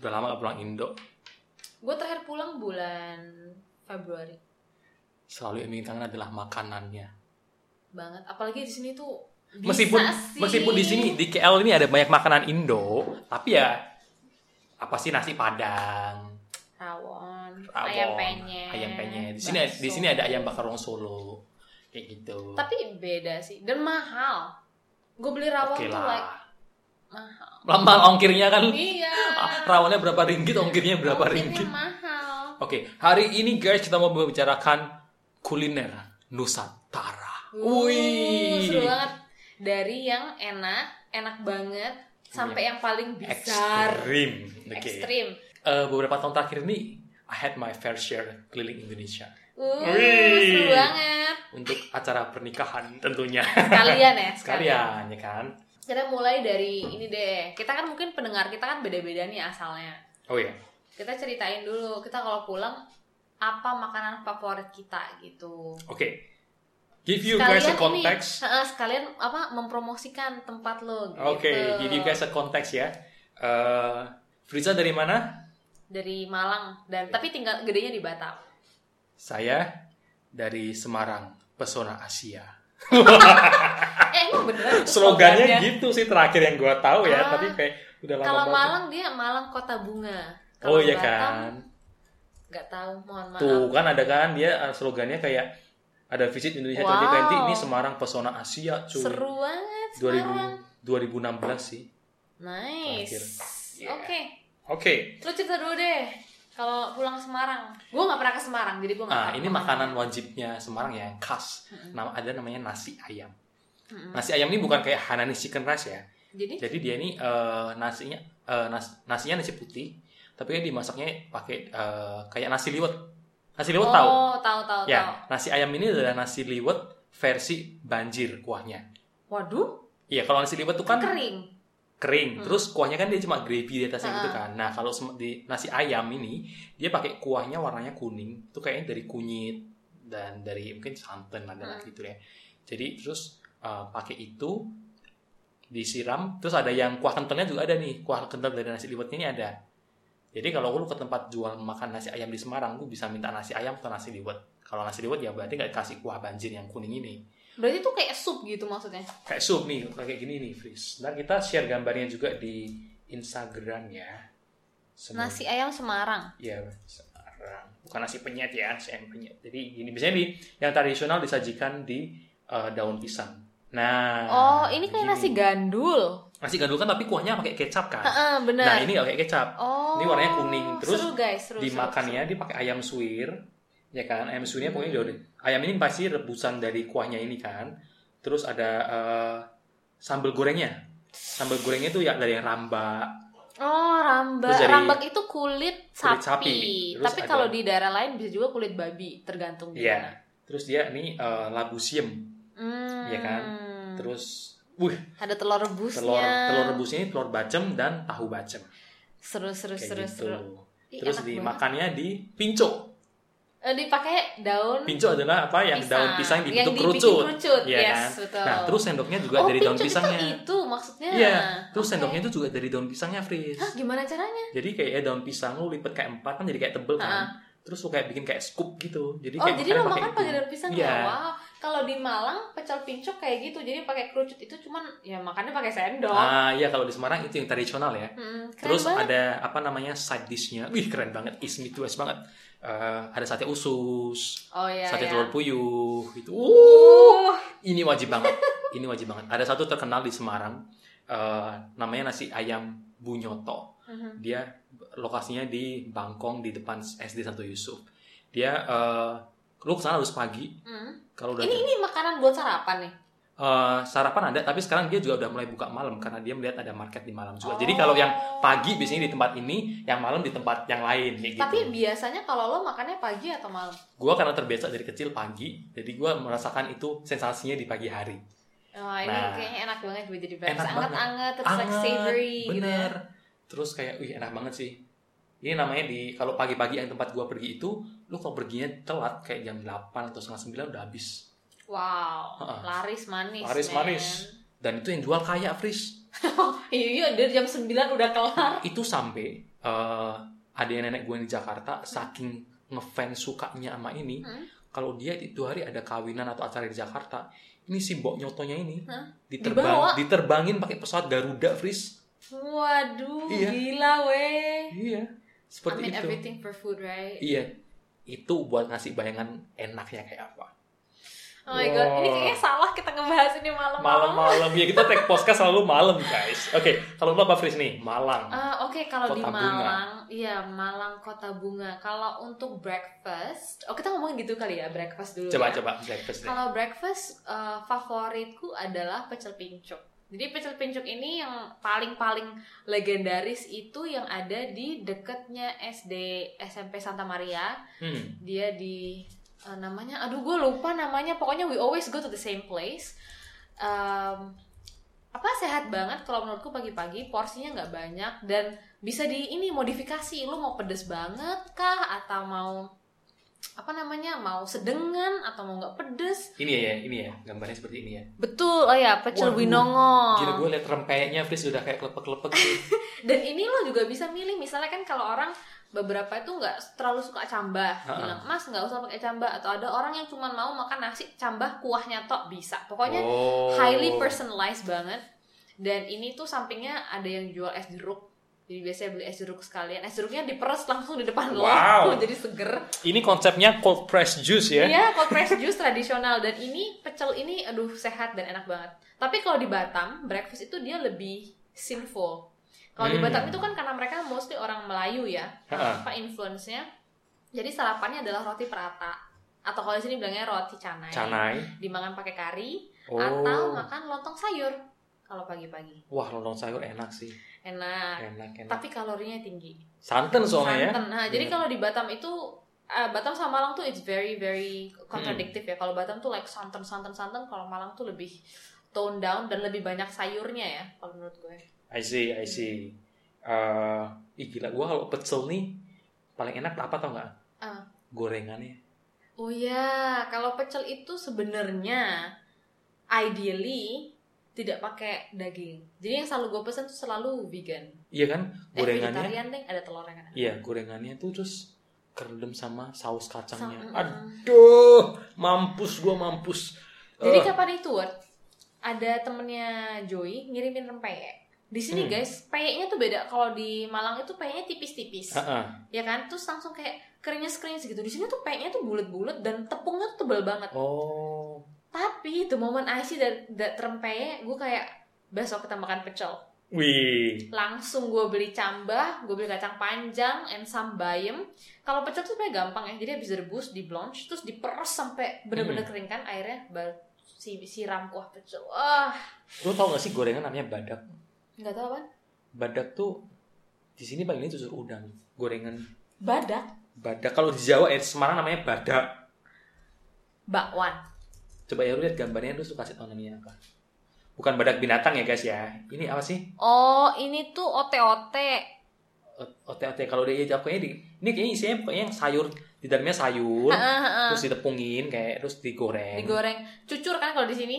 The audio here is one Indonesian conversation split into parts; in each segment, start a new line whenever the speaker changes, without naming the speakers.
nggak pulang Indo?
Gue terakhir pulang bulan Februari
Selalu yang bikin kangen adalah makanannya.
banget. Apalagi di sini tuh bisa
Meskipun
sih.
meskipun di sini di KL ini ada banyak makanan Indo, tapi ya apa sih nasi Padang,
rawon,
rawon,
ayam penyet,
ayam penyet. Di sini
bakso.
di sini ada ayam bakar wong Solo. Kayak gitu.
Tapi beda sih dan mahal. Gue beli rawon
Oke
tuh like
lah.
mahal.
Lama ongkirnya kan
Iya.
ah, rawonnya berapa ringgit, ongkirnya berapa
Ongkirnya
ringgit.
mahal.
Oke, hari ini guys kita mau membicarakan kuliner Nusantara.
Uh,
Wih.
Seru banget. Dari yang enak, enak banget sampai yang paling besar.
Ekstrim. Iya. Oke.
Ekstrim.
Eh, beberapa tahun terakhir ini I had my fair share keliling Indonesia
Uh,
Wih.
seru banget.
untuk acara pernikahan tentunya.
Sekalian ya,
Sekalian ya kan.
Kita mulai dari ini deh. Kita kan mungkin pendengar kita kan beda-beda nih asalnya.
Oh iya.
Kita ceritain dulu. Kita kalau pulang apa makanan favorit kita gitu.
Oke. Give you guys a context.
ini, heeh, sekalian apa mempromosikan tempat lo gitu.
Oke, give you guys a context ya. Eh, Friza dari mana?
dari Malang dan tapi tinggal gedenya di Batam.
Saya dari Semarang, Pesona Asia.
Eh, emang beneran tuh
Slogannya gitu sih terakhir yang gua tahu ya,
Ah,
tapi kayak udah lama
Kalau
banget.
Malang dia Malang Kota Bunga.
oh
Kalau
iya
Batam,
kan.
Nggak tahu, mohon maaf.
Tuh kan ada kan dia eh, slogannya kayak ada visit Indonesia
Wow.
terjadi ganti ini Semarang Pesona Asia cuy.
Seru banget Semarang.
2000 2016 sih.
Nice.
Terakhir. Yeah.
Oke,
Oke.
lu cerita dulu deh. Kalau pulang Semarang, gue nggak pernah ke Semarang, jadi gue nggak.
Nah,
tahu
ini makanan wajibnya Semarang ya, yang khas. Nama ada namanya nasi ayam.
Mm-mm.
Nasi ayam ini bukan kayak Hanani chicken rice ya.
Jadi,
Jadi dia ini eh, nasinya eh, nas- nasinya nasi putih, tapi dia dimasaknya pakai eh, kayak nasi liwet. Nasi liwet
oh
tahu?
tahu tahu tahu.
Ya, nasi ayam ini adalah nasi liwet versi banjir kuahnya.
Waduh,
Iya, kalau nasi liwet tuh kan
kering.
kering.
Hmm.
Terus kuahnya kan dia cuma gravy di atasnya
Ah.
gitu kan. Nah, kalau sem- di nasi ayam ini dia pakai kuahnya warnanya kuning. Itu kayaknya dari kunyit dan dari mungkin santan adalah
Hmm.
gitu ya. Jadi terus uh, pakai itu disiram terus ada yang kuah kentalnya juga ada nih. Kuah kental dari nasi liwetnya ini ada. Jadi kalau lu ke tempat jual makan nasi ayam di Semarang, lu bisa minta nasi ayam atau nasi liwet. Kalau nasi liwet ya berarti nggak kasih kuah banjir yang kuning ini.
Berarti tuh kayak sup gitu maksudnya.
kayak sup nih kayak gini nih Fris dan kita share gambarnya juga di Instagram ya Semua-
Nasi ayam Semarang.
ya Semarang bukan nasi penyet ya nasi ayam penyet jadi gini biasanya di yang tradisional disajikan di eh, daun pisang nah
oh, ini kayak
gini.
nasi gandul.
nasi gandul kan tapi kuahnya pakai kecap kan
Heeh, benar.
nah ini nggak pakai kecap
Oh.
Ini warnanya kuning. Terus ya.
seru guys, seru, seru,
dimakannya dia pakai ayam suwir ya kan ayam suwirnya pokoknya
Hmm.
udah ayam ini pasti rebusan dari kuahnya ini kan terus ada eh, sambal gorengnya sambal gorengnya itu ya dari yang rambak
seru. Oh, rambak.
Terus dari-
rambak itu kulit sapi.
Kulit sapi. Terus
Tapi
ada-
kalau di daerah lain bisa juga kulit babi, tergantung di
Iya.
mana.
terus dia ini eh, labu siem
Hmm.
Iya kan? terus wih
Ada telur rebusnya.
telur telur rebusnya ini telur bacem dan tahu bacem
Seru, seru,
kayak
seru,
gitu
seru. Ih,
terus
enak banget.
dimakannya di pinco
Eh, dipakai daun
pinco adalah apa yang daun pisang
yang
dibentuk
dibikin
kerucut
kerucut.
Iya
yes,
kan?
betul.
nah terus sendoknya juga
oh,
dari daun
pincuk
pisangnya
Itu, itu maksudnya.
Iya, terus
Oke.
sendoknya itu juga dari daun pisangnya Fris
Hah, gimana caranya?
Jadi kayak ya, daun pisang lu lipet kayak empat kan jadi kayak tebel kan.
Ah.
Terus lu kayak bikin kayak scoop gitu. Jadi
oh,
kayak
jadi lo
makannya
makan
itu.
pakai daun pisang
Iya.
ya? Wow. Kalau di Malang pecel pincuk kayak gitu, jadi pakai kerucut itu cuman ya makannya pakai sendok.
Ah iya kalau di Semarang itu yang tradisional ya.
Hmm, keren
Terus
banget.
ada apa namanya side dishnya. Wih keren banget, is Midwest banget. Eh, ada sate usus,
oh iya.
sate
iya.
telur puyuh, gitu. Uh,
Uh,
ini wajib banget. ini wajib banget. Ada satu terkenal di Semarang, eh, namanya nasi ayam bunyoto.
mhm.
dia lokasinya di Bangkong di depan SD Santo Yusuf dia eh, lu kesana harus pagi
Hmm.
kalau udah
Ini ini makanan buat sarapan nih.
Eh, sarapan ada tapi sekarang dia juga udah mulai buka malam karena dia melihat ada market di malam juga jadi kalau yang pagi biasanya di tempat ini yang malam di tempat yang lain kayak gitu
Tapi biasanya kalau lo makannya pagi atau malam?
gue karena terbiasa dari kecil pagi jadi gue merasakan itu sensasinya di pagi hari
Wah, Oh, ini
Nah.
kayaknya enak banget buat jadi breakfast.
Enak banget.
Anget-anget, terus like savory gitu.
bener terus kayak wih enak banget sih ini namanya di kalau pagi-pagi yang tempat gua pergi itu lu kalau perginya telat kayak jam 8 atau setengah 9 udah habis
Wow,
Heeh.
laris manis.
Laris
men.
manis. dan itu yang jual kaya Fris
iya iya dari jam 9 udah kelar
itu sampai eh ada yang nenek gue di Jakarta saking ngefans sukanya sama ini
Hmm.
kalau dia itu hari ada kawinan atau acara di Jakarta ini si mbok nyotonya ini
Hah? Dibawa?
diterbang diterbangin pakai pesawat Garuda Fris
waduh
Iya.
gila weh
iya
I
seperti
mean
itu
everything for food right
iya itu buat ngasih bayangan enaknya kayak apa
oh my god ini
Wah.
kayaknya salah kita ngebahas ini malam-malam
malam-malam ya kita take podcast selalu malam guys oke kalau lu apa Fris nih Malang
Ah, Oke, kalau di
Kota Bunga.
Malang, iya Malang Kota Bunga. Kalau untuk breakfast, oh kita ngomongin gitu kali ya breakfast dulu.
coba
ya.
coba breakfast deh
Kalau breakfast eh, favoritku adalah pecel pincuk. Jadi pecel pincuk ini yang paling-paling legendaris itu yang ada di deketnya SD SMP Santa Maria.
hmm.
Dia di eh, namanya, aduh gue lupa namanya. Pokoknya we always go to the same place. Em, apa sehat banget kalau menurutku pagi-pagi porsinya nggak banyak dan bisa di ini modifikasi. Lu mau pedes banget kah atau mau apa namanya mau sedengan atau mau nggak pedes
ini ya ini ya gambarnya seperti ini ya
Betul, oh ya pecel
Waduh,
winongo.
Gila gue liat rempeyeknya Fris udah kayak klepek-klepek gitu.
Dan ini lo juga bisa milih, misalnya kan kalau orang beberapa itu nggak terlalu suka cambah,
Ha-ha.
bilang mas nggak usah pakai cambah, atau ada orang yang cuma mau makan nasi cambah kuahnya tok bisa. Pokoknya
oh.
highly personalized banget. Dan ini tuh sampingnya ada yang jual es jeruk. Jadi biasanya beli es jeruk sekalian. Es jeruknya diperes langsung di depan
Wow.
lo. Jadi seger.
Ini konsepnya cold press juice ya
Iya, cold press juice tradisional dan ini pecel ini aduh sehat dan enak banget. Tapi kalau di Batam, breakfast itu dia lebih sinful. Kalau di
Hmm.
Batam itu kan karena mereka mostly orang Melayu ya,
Ha-ha.
apa influence-nya. Jadi sarapannya adalah roti perata atau kalau di sini bilangnya roti canai.
Canai
Dimakan pakai kari
oh.
atau makan lontong sayur kalau pagi-pagi.
Wah lontong sayur enak sih
Enak.
Enak enak
Tapi kalorinya tinggi.
Santen soalnya ya
Santan. Nah, jadi
Iya.
kalau di Batam itu eh, Batam sama Malang tuh it's very very contradictive
Hmm.
ya. Kalau Batam tuh like santan santan santan, kalau Malang tuh lebih tone down dan lebih banyak sayurnya ya kalau menurut gue.
I see I see Eh, Ih gila gue kalau pecel nih Paling enak apa tau gak?
Apa?
Gorengannya
Oh ya, kalau pecel itu sebenarnya ideally tidak pakai daging. Jadi yang selalu gue pesen tuh selalu vegan.
Iya kan?
Eh,
Gorengannya
vegetarian deh, ada telurnya kan.
Iya, gorengannya tuh terus kerendam sama saus kacangnya.
Sama- ah.
Aduh, mampus gua mampus.
Jadi
Eh,
kan- kapan itu Ward, ada temennya Joy ngirimin rempeyek. Di sini
Hmm.
guys, peyeknya tuh beda. Kalau di Malang itu peyeknya tipis-tipis,
ah-ah.
ya kan? Terus langsung kayak keringnya-keringnya gitu. Di sini tuh peyeknya tuh bulat-bulat dan tepungnya tuh tebel banget.
Oh,
Tapi the moment I see that, that rempeyek, gue kayak besok kita makan pecel.
wih.
Langsung gue beli cambah, gue beli kacang panjang, and some bayam. Kalau pecel tuh sebenarnya gampang ya. Jadi habis direbus, di blanch, terus diperes sampai
Hmm.
bener-bener kering kan airnya baru si siram kuah pecel. Wah,
Lo tau gak sih gorengan namanya badak?
Nggak tahu apa?
Badak tuh di sini panggilnya susur udang. Gorengan
Badak,
badak. Kalau di Jawa eh di Semarang namanya badak.
bakwan.
Coba ya lu lihat gambarnya lu suka kasih tau namanya apa. Bukan badak binatang ya guys ya. Ini apa sih?
Oh, ini tuh ote-ote.
Ote-ote kalau dia ya, pokoknya di ini kayaknya isinya pokoknya yang sayur di dalamnya sayur
Heeh, heeh.
terus ditepungin kayak terus digoreng.
Digoreng. Cucur kan kalau di sini?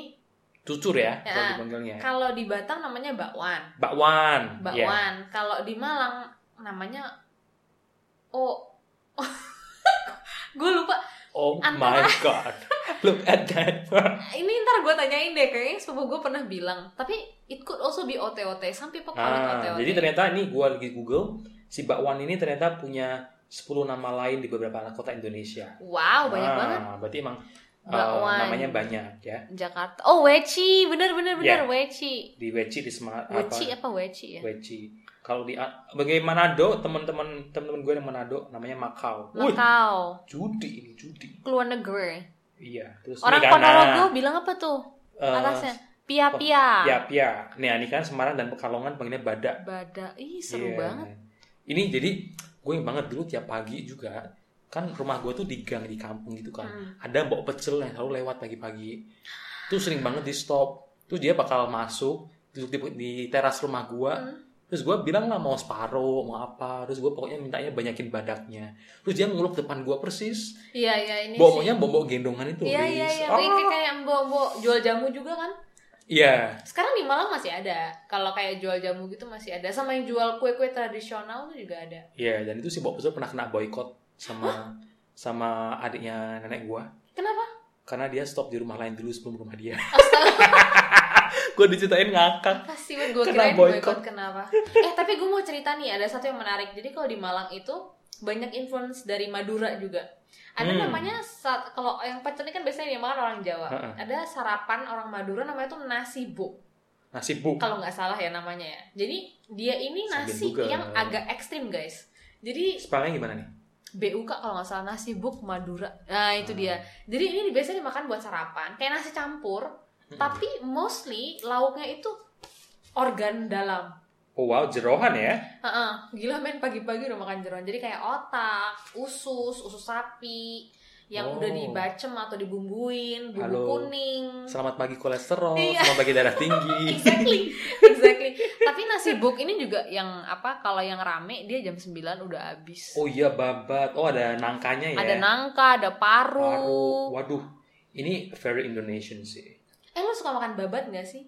cucur ya,
Ya.
kalau dipanggilnya
Kalau di Batam namanya bakwan.
bakwan ya
Bakwan. Kalau di Malang namanya oh. gue lupa.
oh
Antara-
my god look at that
Ini ntar gue tanyain deh kayaknya sepupu gue pernah bilang. Tapi it could also be ote-ote. Some people call it
nah
ote-ote.
jadi ternyata ini gua lagi google si bakwan ini ternyata punya 10 nama lain di beberapa kota Indonesia
Wow, Oh, banyak
Nah,
banget.
berarti emang eh,
Bakwan.
namanya banyak ya
Jakarta. Oh, weci. Bener, bener, bener. Weci.
di Weci di Semarang
Weci
Iya. apa
apa weci ya?
Weci kalau di bagi Manado teman-teman teman-teman gue yang Manado namanya Makau Wih,
Makau.
judi ini judi
Keluar negeri.
iya terus
Orang
Megana.
Ponorogo bilang apa tuh?
Eh,
Atasnya pia-pia.
Pia Pia. Nih, ini kan Semarang dan Pekalongan panggilnya badak.
Bada. Ih, seru
Iya.
banget.
Ini jadi gue ingat banget dulu tiap pagi juga kan rumah gue tuh di gang di kampung gitu kan.
Hmm.
Ada mbok pecel yang selalu lewat pagi-pagi. Tuh sering banget di stop. Terus dia bakal masuk duduk di, di teras rumah gue.
Hmm.
Terus gue bilang lah mau separuh, mau apa. Terus gue pokoknya mintanya banyakin badaknya. Terus dia nguluk depan gue persis.
Iya, iya ini. sih.
Bawanya bobok gendongan itu.
Iya, iya,
Riz.
iya.
Ah.
Kayak kayak mbok-mbok jual jamu juga kan?
Iya.
Sekarang di Malang masih ada. Kalau kayak jual jamu gitu masih ada. Sama yang jual kue-kue tradisional tuh juga ada.
Iya, dan itu si Bob Besar pernah kena boykot sama sama adiknya nenek gua
Kenapa?
karena dia stop di rumah lain dulu sebelum rumah dia. gua diceritain ngakak.
Apa sih gue
Kena
kirain
boykot.
boykot kenapa? Eh tapi gue mau cerita nih ada satu yang menarik. Jadi kalau di Malang itu banyak influence dari Madura juga. Ada
Hmm.
namanya sa- kalau yang pecel ini kan biasanya dimakan orang Jawa.
Ha-ha.
Ada sarapan orang Madura namanya tuh nasi bu.
Nasib bu.
kalau nggak salah ya namanya ya. Jadi dia ini
Iya. Sambil
nasi
Google.
yang agak ekstrim guys. Jadi
Spellnya gimana nih?
BUK kalau nggak salah nasi buk Madura. Nah itu dia.
Hmm.
Jadi ini biasanya dimakan buat sarapan, kayak nasi campur.
Hmm.
Tapi mostly lauknya itu organ dalam.
Oh wow, jerohan ya.
Heeh, gila men pagi-pagi udah makan jeroan. Jadi kayak otak, usus, usus sapi yang
Oh.
udah dibacem atau dibumbuin, bumbu
Halo.
kuning.
Selamat pagi kolesterol,
Iya.
selamat pagi darah tinggi.
exactly exactly tapi nasi buk ini juga yang apa kalau yang rame dia jam 9 udah habis
Oh iya babat. Oh ada nangkanya ya.
ada nangka ada paru.
Paru. Waduh, ini very Indonesian sih.
eh lu suka makan babat nggak sih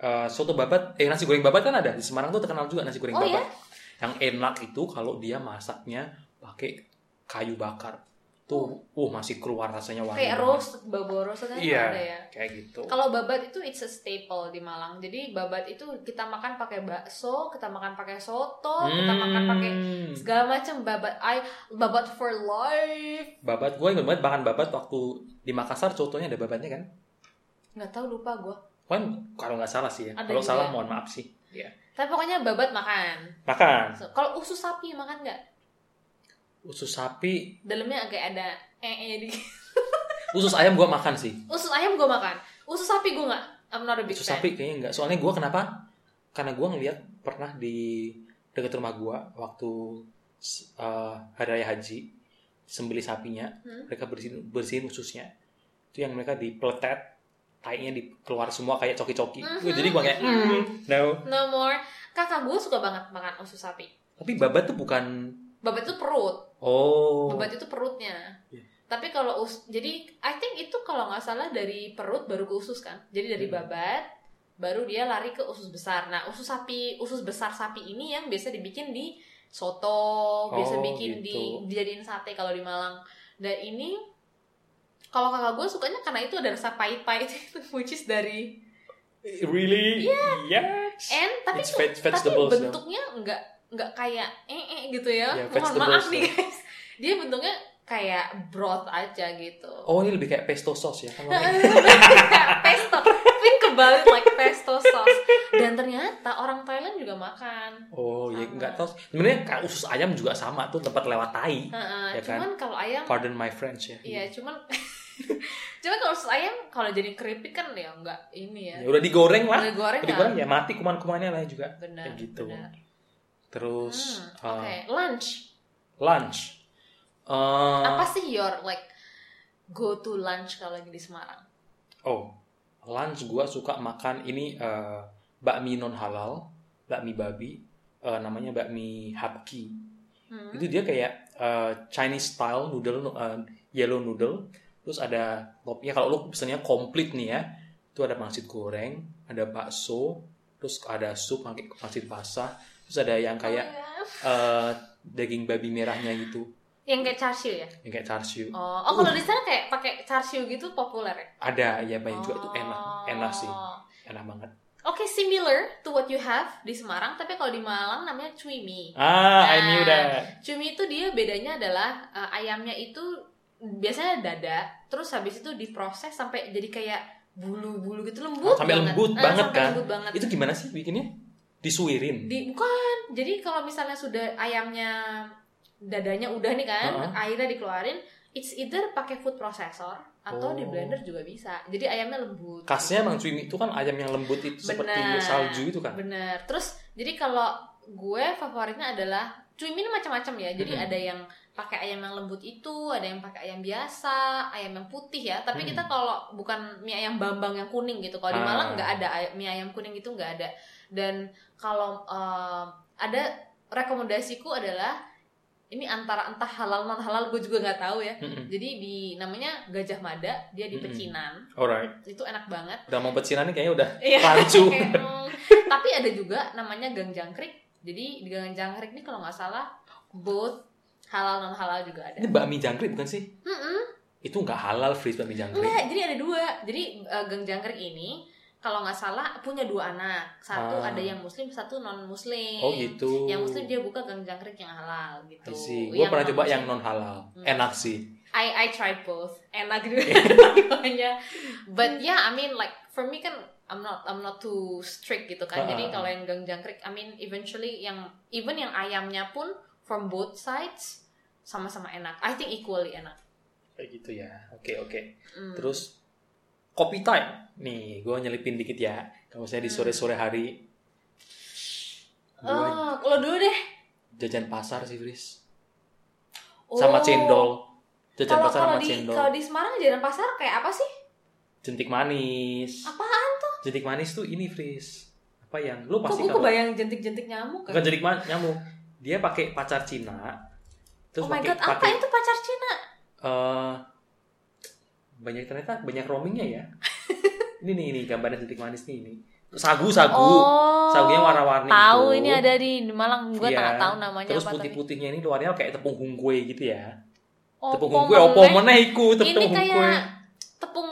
Eh, soto babat, eh nasi goreng babat kan ada di Semarang tuh terkenal juga nasi goreng
Oh,
babat. Yang enak itu kalau dia masaknya pakai kayu bakar. Tuh, uh masih keluar rasanya wangi.
Oh. kayak
banget.
roast babo roast kan
Iya,
ada ya
kayak gitu.
kalau babat itu it's a staple di Malang jadi babat itu kita makan pakai bakso kita makan pakai soto Oh, kita makan pakai
Hmm.
segala macam babat I babat for life
babat gue ingat banget bahkan babat waktu di Makassar contohnya ada babatnya kan
nggak tahu lupa gue
kan kalau nggak salah sih ya
Ada
kalau
juga
salah
ya?
mohon maaf sih Iya.
tapi pokoknya babat makan
makan
So, kalau usus sapi makan nggak
usus sapi
dalamnya agak ada eh eh dikit
usus ayam gue makan sih
usus ayam gue makan usus sapi gue nggak I'm not a big
usus
fan.
sapi kayaknya nggak soalnya gue kenapa karena gue ngeliat pernah di dekat rumah gue waktu s- eh, hari raya haji sembelih sapinya
Hmm.
mereka bersihin bersihin ususnya itu yang mereka dipeletet tainya di keluar semua kayak coki-coki
Mhm.
Wih, jadi gue kayak mm, no
no more kakak gue suka banget makan usus sapi
tapi babat tuh bukan
babat itu perut
oh
babat itu perutnya
Iya.
tapi kalau us jadi I think itu kalau nggak salah dari perut baru ke usus kan jadi dari
Hmm.
babat baru dia lari ke usus besar nah usus sapi usus besar sapi ini yang biasa dibikin di soto biasa
Oh,
bikin
gitu.
di dijadiin sate kalau di Malang dan ini kalau kakak gue sukanya karena itu ada rasa pahit-pahit which is dari
Really?
Iya.
Yes.
And tapi
It's
tuh-
veg- vegetables,
tapi bentuknya nggak nggak kayak eh eh gitu ya.
Ya,
Mohon
vegetables,
maaf nih
ya.
guys. Dia bentuknya kayak broth aja gitu.
Oh ini lebih kayak pesto sauce ya kan namanya?
Kayak pesto. Think kebalik like pesto sauce. Dan ternyata orang Thailand juga makan.
Oh ya
Sama.
nggak tahu. Sebenarnya kayak usus ayam juga sama tuh tempat lewat tai.
Heeh,
Ya kan?
cuman kalau ayam
Pardon my French ya.
Iya, cuman cuman kalau usus ayam kalau jadi keripik kan ya nggak ini ya.
Ya, udah digoreng lah.
Udah goreng
Udah
kan?
digoreng ya mati kuman-kumannya lah juga.
Benar,
Kayak gitu.
benar.
Terus
Hmm, Oke,
uh,
lunch.
lunch. Uh,
apa sih your like go to lunch kalau lagi di Semarang?
Oh lunch gua suka makan ini uh, bakmi non halal, bakmi babi. uh, namanya bakmi hapki.
Hmm.
itu dia kayak uh, Chinese style noodle uh, yellow noodle terus ada topnya kalau lu pesennya komplit nih ya itu ada pangsit goreng ada bakso terus ada sup pakai pangsit basah terus ada yang kayak
Oh,
uh, daging babi merahnya gitu
ya. yang kayak char siu ya?
yang kayak char siu
Oh, oh kalau di sana kayak pakai char siu gitu populer ya?
ada ya banyak juga itu
Oh.
enak enak sih enak banget
Oke, similar to what you have di Semarang, tapi kalau di Malang namanya cuimi.
ah I
Nah.
knew that
Cumi itu dia bedanya adalah eh, ayamnya itu biasanya dada, terus habis itu diproses sampai jadi kayak bulu-bulu gitu lembut
Sampai
banget.
lembut
Ah,
banget,
sampai
kan?
lembut banget.
itu gimana sih bikinnya disuirin
di bukan jadi kalau misalnya sudah ayamnya dadanya udah nih kan
Heeh.
airnya dikeluarin it's either pakai food processor atau
Oh.
di blender juga bisa jadi ayamnya lembut
khasnya emang cuimi itu kan ayam yang lembut itu seperti
Benar.
salju itu kan
bener terus jadi kalau gue favoritnya adalah cuimin macam-macam ya jadi
Mm-mm.
ada yang pakai ayam yang lembut itu ada yang pakai ayam biasa ayam yang putih ya tapi
Mm.
kita kalau bukan mie ayam bambang yang kuning gitu kalau di
Ah.
Malang nggak ada ay- mie ayam kuning itu nggak ada dan kalau eh, ada rekomendasiku adalah ini antara entah halal non halal gue juga nggak tahu ya
Mm-mm.
jadi di namanya gajah mada dia di
Mm-mm.
pecinan
Alright.
itu enak banget
Udah mau pecinan nih kayaknya udah
Iya.
rancu.
Kayak, mm. tapi ada juga namanya gang jangkrik jadi di gang jangkrik ini kalau nggak salah both halal non halal juga ada
Ini bakmi jangkrik bukan sih?
Mm-mm.
Itu nggak halal free bakmi jangkrik.
Enggak, jadi ada dua. Jadi eh, Gang Jangkrik ini kalau nggak salah punya dua anak. Satu
Ah.
ada yang muslim, satu non muslim.
Oh gitu.
Iya. Yang muslim dia buka Gang Jangkrik yang halal gitu.
I see. Gue pernah coba yang non halal.
Hmm.
Enak sih.
I I tried both. Enak dua-duanya. But yeah, I mean like for me kan I'm not I'm not too strict gitu kan.
Ah.
Jadi kalau yang Gang Jangkrik, I mean eventually yang even yang ayamnya pun from both sides sama-sama enak. I think equally enak.
Kayak gitu ya. Oke oke.
Mm.
Terus kopi time. Nih, gue nyelipin dikit ya. Kalau misalnya di
Hmm.
sore-sore hari, gue
Oh, kalau dulu deh.
jajan pasar sih, Fris. Sama
Oh.
cendol. Jajan
Kalau
pasar
kalau
sama
di
cendol.
kalau di Semarang jalan pasar kayak apa sih?
Jentik manis.
Apaan?
Jentik manis tuh ini, Fris. Apa yang lu
Kok
pasti
gue
kalau
kebayang jentik-jentik nyamuk
bukan
kan?
jentik manis nyamuk. Dia pakai pacar Cina. Terus
Oh my
pakai
god, apa
pakai
itu pacar Cina?
eh banyak ternyata banyak roamingnya ya. ini nih ini gambarnya jentik manis nih ini. Sagu sagu.
Oh.
Sagunya warna-warni
Tahu
itu.
ini ada di di Malang gue
Iya.
tak tahu namanya
Terus
apa tapi.
putih-putihnya ini luarnya kayak tepung hungkwe gitu ya.
Oh,
tepung
pomelo.
hungkwe, opo meneh iku tepung
Ini
hungkwe.
kayak tepung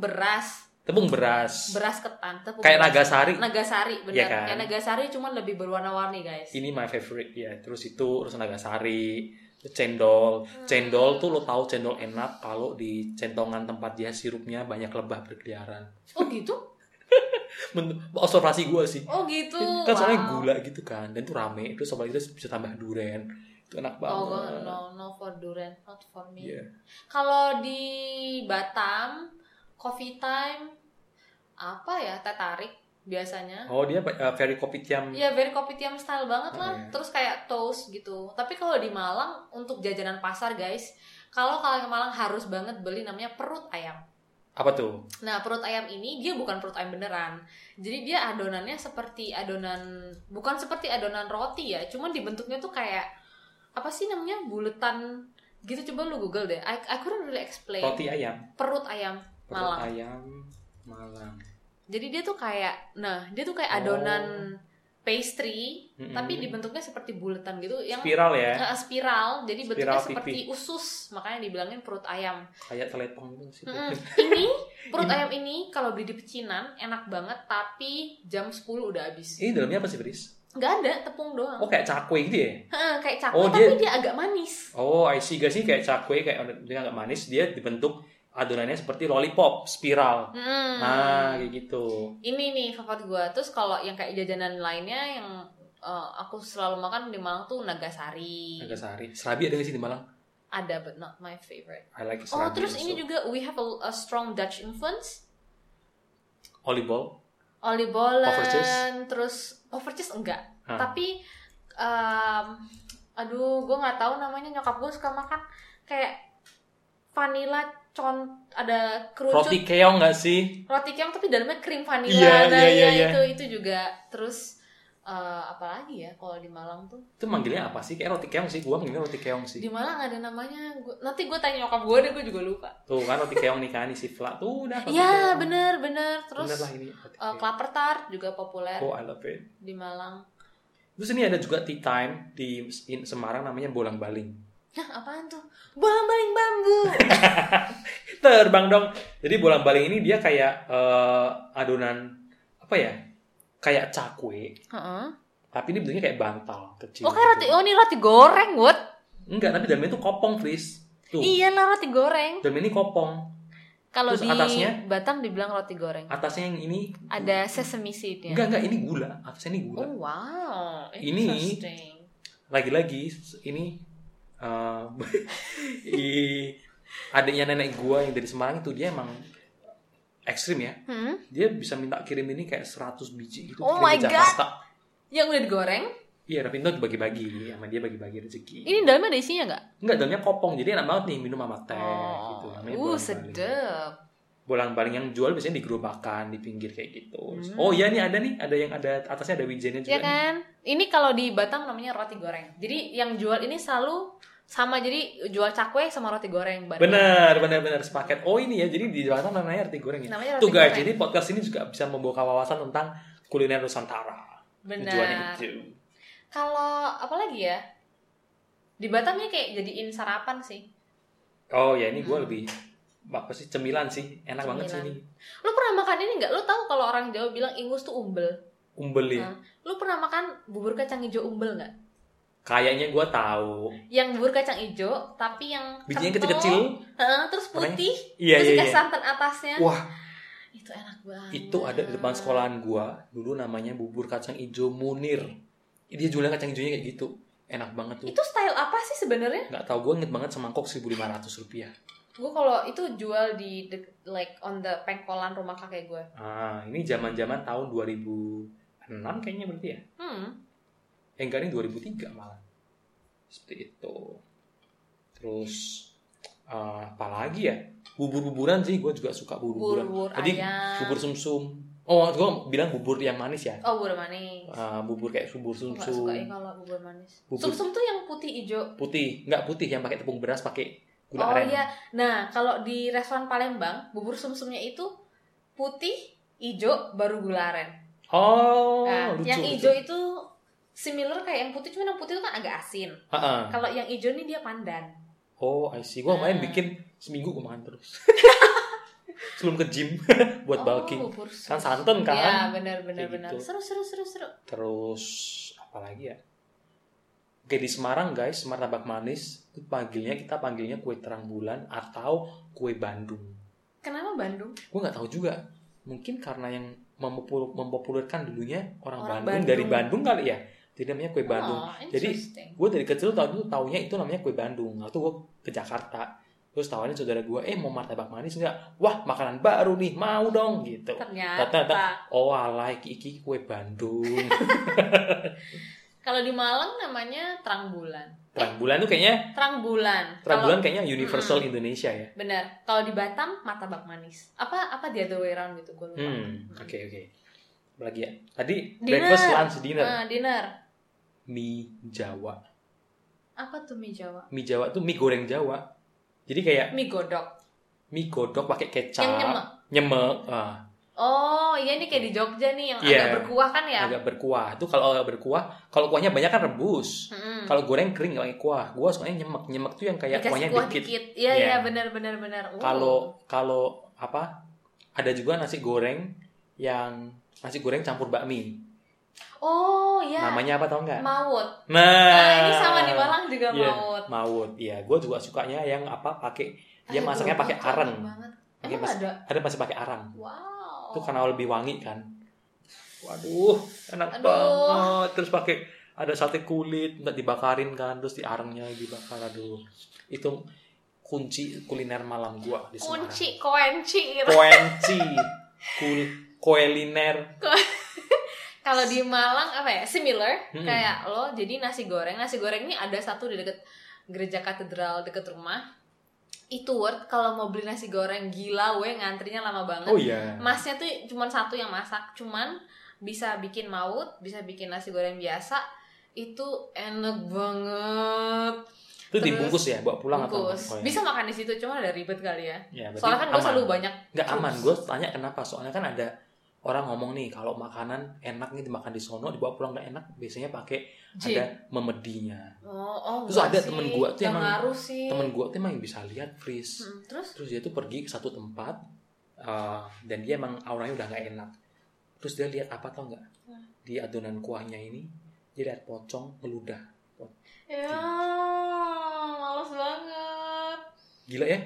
beras,
Tepung beras.
beras ketan, tepung
Kayak
beras. Nah.
Nagasari.
Nagasari benar.
Iya kan?
Kayak Nagasari cuman lebih berwarna-warni, guys.
Ini my favorite ya. Terus itu terus Nagasari, terus cendol.
Hmm.
Cendol tuh lo tahu cendol enak kalau di centongan tempat dia sirupnya banyak lebah berkeliaran.
Oh gitu?
Men- Observasi gue sih.
Oh gitu.
Kan soalnya
Wow.
gula gitu kan, dan itu rame. Terus apalagi terus bisa tambah duren. Itu enak
Oh,
banget.
gua- no, no for durian, not for me.
Iya.
Kalau di Batam, coffee time apa ya? Teh tarik biasanya.
Oh, dia eh, very kopitiam.
Iya, very kopitiam style banget lah.
Oh, iya.
Terus kayak toast gitu. Tapi kalau di Malang untuk jajanan pasar, guys, kalau kalian ke Malang harus banget beli namanya perut ayam.
Apa tuh?
Nah, perut ayam ini dia bukan perut ayam beneran. Jadi dia adonannya seperti adonan bukan seperti adonan roti ya, cuman dibentuknya tuh kayak apa sih namanya? buletan gitu coba lu Google deh. I, I couldn't really explain.
Roti ayam.
Perut ayam
Perut
Iya. Malang.
ayam Malang.
Jadi dia tuh kayak, nah dia tuh
Oh.
kayak adonan pastry,
Mm-mm.
tapi dibentuknya seperti buletan gitu, yang
spiral ya.
Eh, spiral. Jadi bentuknya
Spiral
seperti usus, makanya dibilangin perut ayam.
kayak telepon gitu sih.
Mm-mm. Ini perut ayam ini kalau beli di pecinan enak banget, tapi jam 10 udah habis.
Ini dalamnya apa sih, Bris?
Nggak ada tepung doang.
Oh, kayak cakwe gitu ya?
Heeh, kayak cakwe,
Oh,
tapi dia agak manis.
Oh, I see. Gak sih kayak cakwe, kayak dia agak manis, dia dibentuk adonannya seperti lollipop, spiral.
Mm.
Nah, kayak gitu.
ini nih favorit gue terus kalau yang kayak jajanan lainnya yang eh, aku selalu makan di Malang tuh nagasari,
Agak sehari. Serabi ada gak sih di Malang?
ada but not my favorite
I like
oh
serabi.
terus
also.
ini juga we have a, a strong Dutch influence
Olive oil. Overtjes?
Olibolen, terus overcheese enggak,
Hah.
tapi em, aduh gue nggak tahu namanya nyokap gue suka makan kayak vanilla con ada kerucut
Roti keong gak sih?
roti kem tapi dalamnya krim vanila
Iya,
nah,
iya,
iya,
iya,
itu itu juga terus eh, apalagi ya kalau di Malang tuh
Itu manggilnya apa sih? Kayak roti keong sih. Gua manggilnya roti keong sih.
di Malang ada namanya gua, nanti gue tanya nyokap gue deh gue juga lupa
Tuh kan roti keong nih kan isi flat. Tuh udah. roti
ya
keong.
bener bener terus
Bener lah ini. roti
eh,
keong.
klaper tart juga populer
Oh, I love it.
di Malang
Terus ini ada juga tea time di in Semarang namanya bolang-baling.
Hah, apaan tuh bolang baling bambu
terbang dong. Jadi bolang baling ini dia kayak eh, adonan apa ya? Kayak cakwe,
Heeh.
tapi ini bentuknya kayak bantal kecil. gitu.
Oh kayak roti, oh ini roti goreng, Wood.
Enggak, tapi dalamnya itu kopong, Fris. Tuh,
Iya lah roti goreng.
dalamnya ini kopong.
Kalau
Terus
di
atasnya?
Batam dibilang roti goreng.
Atasnya yang ini
Ada sesame seednya.
Enggak, enggak, ini gula. Atasnya ini gula.
Oh wow,
Ini-
interesting.
Lagi-lagi ini eh i- adiknya nenek gua yang dari Semarang itu dia emang ekstrim ya.
Hmm?
Dia bisa minta kirim ini kayak 100 biji gitu
Oh
kirim
my
ke
God.
Jakarta.
Yang udah digoreng,
Iya, tapi itu dibagi-bagi sama dia bagi-bagi rezeki.
ini dalamnya ada isinya nggak?
Enggak, dalamnya kopong. Jadi enak banget nih minum sama teh gitu.
oh,
Namanya
uh
bolang-baling.
sedap.
bolang-baling yang jual biasanya di gerobakan di pinggir kayak gitu. Terus,
Hmm.
Oh iya nih ada nih, ada yang ada atasnya ada wijennya juga.
Iya kan? Ini kalau di Batam namanya roti goreng. Jadi yang jual ini selalu sama jadi jual cakwe sama roti goreng
nih.
bareng.
Bener, bener, bener sepaket. Oh ini ya, jadi di Jakarta namanya arti goreng ya.
Namanya roti
Tuh guys,
goreng.
jadi podcast ini juga bisa membawa wawasan tentang kuliner Nusantara. Tujuannya
Benar.
itu.
Kalau apa lagi ya? Di Batamnya kayak jadiin sarapan sih.
Oh ya ini gue
Hmm.
lebih apa sih cemilan sih, enak banget sih ini.
Cemilan. Lu pernah makan ini nggak? Lu tahu kalau orang Jawa bilang ingus tuh umbel.
Umbel ya.
Hmm. Lu pernah makan bubur kacang hijau umbel nggak?
Kayaknya gue tahu.
Yang bubur kacang hijau tapi yang
Bijinya
kental,
kecil-kecil.
heeh, terus putih,
Iya
terus
iya iya.
dikasih santan atasnya.
Wah,
Itu enak banget.
itu ada di depan sekolahan gua dulu namanya bubur kacang ijo Munir. Dia jualnya kacang ijonya kayak gitu. Enak banget tuh.
Itu style apa sih sebenarnya?
Nggak tahu gua inget banget semangkok 1.500 rupiah.
Gue kalau itu jual di de- like on the pengkolan rumah kakek gue.
Ah, ini zaman-zaman tahun 2006 kayaknya berarti ya.
Hmm.
Eh enggak ini 2003 malah. Seperti itu. Terus eh, apa lagi ya? Bubur-buburan sih gua juga suka
Bubur,
bubur-buburan.
bubur
Tadi
ayam.
Bubur sumsum. Oh, gua bilang bubur yang manis ya.
Oh, bubur manis.
Ah, bubur kayak bubur
Gue gak suka ya
sumsum
kalau bubur manis.
Bubur.
Sumsum tuh yang putih hijau.
putih, nggak putih yang pakai tepung beras pakai gula
oh
aren.
iya. Nah, kalau di restoran Palembang, bubur sumsumnya itu putih, hijau, baru gula aren.
Oh,
Nah,
lucu.
yang
lucu.
hijau itu similar kayak yang putih, cuman yang putih itu kan agak asin.
Ha-ha.
Kalau yang hijau nih dia pandan.
Oh, I see. Gua main
Hmm.
bikin seminggu gua makan terus. Sebelum ke gym buat
Oh,
bulking.
bubur
Kan
sumsum.
santan kan.
Iya, benar benar
Kayak
benar.
gitu.
Seru seru seru seru.
Terus apa lagi ya? Oke di Semarang guys, martabak manis itu panggilnya kita panggilnya kue terang bulan atau kue Bandung.
Kenapa Bandung?
Gua nggak tahu juga. Mungkin karena yang mempopu- mempopulerkan dulunya orang,
Orang
Bandung,
Bandung.
dari Bandung kali ya. Jadi namanya kue Bandung.
Oh,
Jadi,
interesting.
gue dari kecil tahun itu taunya itu namanya kue Bandung waktu gue ke Jakarta terus tawarin saudara gue eh mau martabak manis nggak wah makanan baru nih mau dong gitu
ternyata
oh alay iki kue Bandung
kalau di Malang namanya terang bulan.
terang bulan tuh kayaknya
Terang bulan.
terang
Kalau- Hmm.
bulan kayaknya universal Indonesia ya
Benar. Kalau di Batam martabak manis. Apa apa the other way around gitu gue lupa.
hmm oke oke Apalagi ya tadi
Dinner.
breakfast lunch dinner
Nah, dinner.
mie Jawa
Apa tuh mie Jawa?
mie Jawa tuh mie goreng Jawa jadi kayak
Mie godok.
mie godok pakai kecap
Yang nyemek.
nyemek ah.
Oh, iya ini kayak di Jogja nih yang
Iya.
agak berkuah kan ya?
agak berkuah itu kalau agak berkuah kalau kuahnya banyak kan rebus
Mm-mm.
Kalau goreng kering nggak pakai kuah. Gua sukanya nyemek. Nyemek tuh yang kayak
Hmm. Dikasih
kuahnya
kuah
dikit.
Iya,
Iya.
iya benar benar benar. Uh.
Kalau kalau apa? Ada juga nasi goreng yang nasi goreng campur bakmi.
Oh, iya.
Namanya apa tau nggak?
Mawut.
Nah,
Nah, ini sama di Malang juga
Iya,
mawut.
Mawut. Iya, gue juga sukanya yang apa pakai Dia
Aduh,
masaknya pakai
itu enak
areng.
banget.
Pakai
Emang
mas-
ada?
ada masih pakai arang.
Wow.
Itu karena lebih wangi kan. Waduh, enak
Aduh.
banget. Terus pakai ada sate kulit nggak dibakarin kan, terus di arangnya dibakar. Aduh, itu kunci kuliner malam gua di Semarang.
kunci, koenci gitu.
Koenci kul kuliner
Kalau di Malang apa ya? Similar
Hmm.
kayak lo jadi nasi goreng. Nasi goreng ini ada satu di deket gereja katedral deket rumah. Itu worth kalau mau beli nasi goreng gila we ngantrinya lama banget.
oh iya
Masnya tuh cuman satu yang masak, cuman bisa bikin maut, bisa bikin nasi goreng biasa. Itu enak banget.
itu
Terus
dibungkus ya bawa pulang
Bungkus.
atau
Bisa makan di situ, cuma ada ribet kali ya.
ya, berarti
Soalnya kan gue
aman.
selalu banyak.
nggak aman gue tanya kenapa soalnya kan ada orang ngomong nih kalau makanan enak nih dimakan di sono dibawa pulang nggak enak biasanya pakai
Jin.
ada memedinya
Oh, oh,
Terus
enggak
ada
sih.
temen gua tuh
Nggak
emang-
ngaruh sih.
temen gue tuh emang yang bisa lihat freeze
Mm, terus
terus dia tuh pergi ke satu tempat eh, dan dia emang auranya udah nggak enak terus dia lihat apa tau nggak
Nah.
di adonan kuahnya ini dia lihat pocong meludah Iya.
Ya, males banget.
gila ya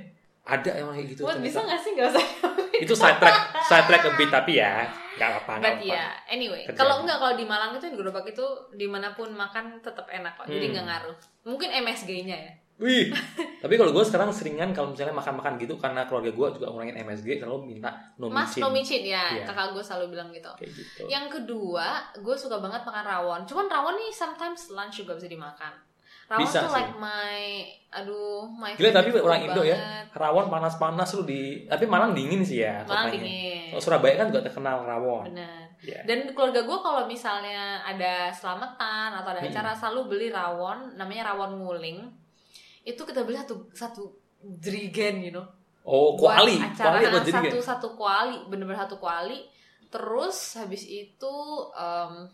ada yang kayak gitu
Buat
ternyata.
bisa gak sih gak usah?
itu side track side track a bit tapi ya nggak apa-apa nggak
But
apa-apa.
ya, anyway,
Kerjaan.
kalau enggak kalau di Malang itu di gerobak itu dimanapun makan tetap enak kok, jadi
Hmm.
nggak ngaruh. Mungkin MSG-nya ya.
Wih, tapi kalau gue sekarang seringan kalau misalnya makan-makan gitu karena keluarga gue juga ngurangin MSG selalu minta no
Mas
micin.
nomicin ya,
Iya.
kakak gue selalu bilang gitu.
kayak gitu.
Yang kedua, gue suka banget makan rawon. Cuman rawon nih sometimes lunch juga bisa dimakan. Rawon
Bisa
tuh
sih.
like my aduh my
Gila tapi
favorite
orang
food
Indo ya.
banget.
Rawon panas-panas lu di tapi Malang dingin sih ya kotanya.
Malah dingin.
Kalau Surabaya kan juga terkenal rawon.
Benar.
Iya.
Dan keluarga gue kalau misalnya ada selamatan atau ada
Mm-mm.
acara selalu beli rawon, namanya rawon nguling. Itu kita beli satu satu jerigen, you know.
Oh,
Buat
kuali. Kuali
Acara
apa
nah,
jadi
satu satu kuali, bener-bener satu kuali. Terus habis itu em,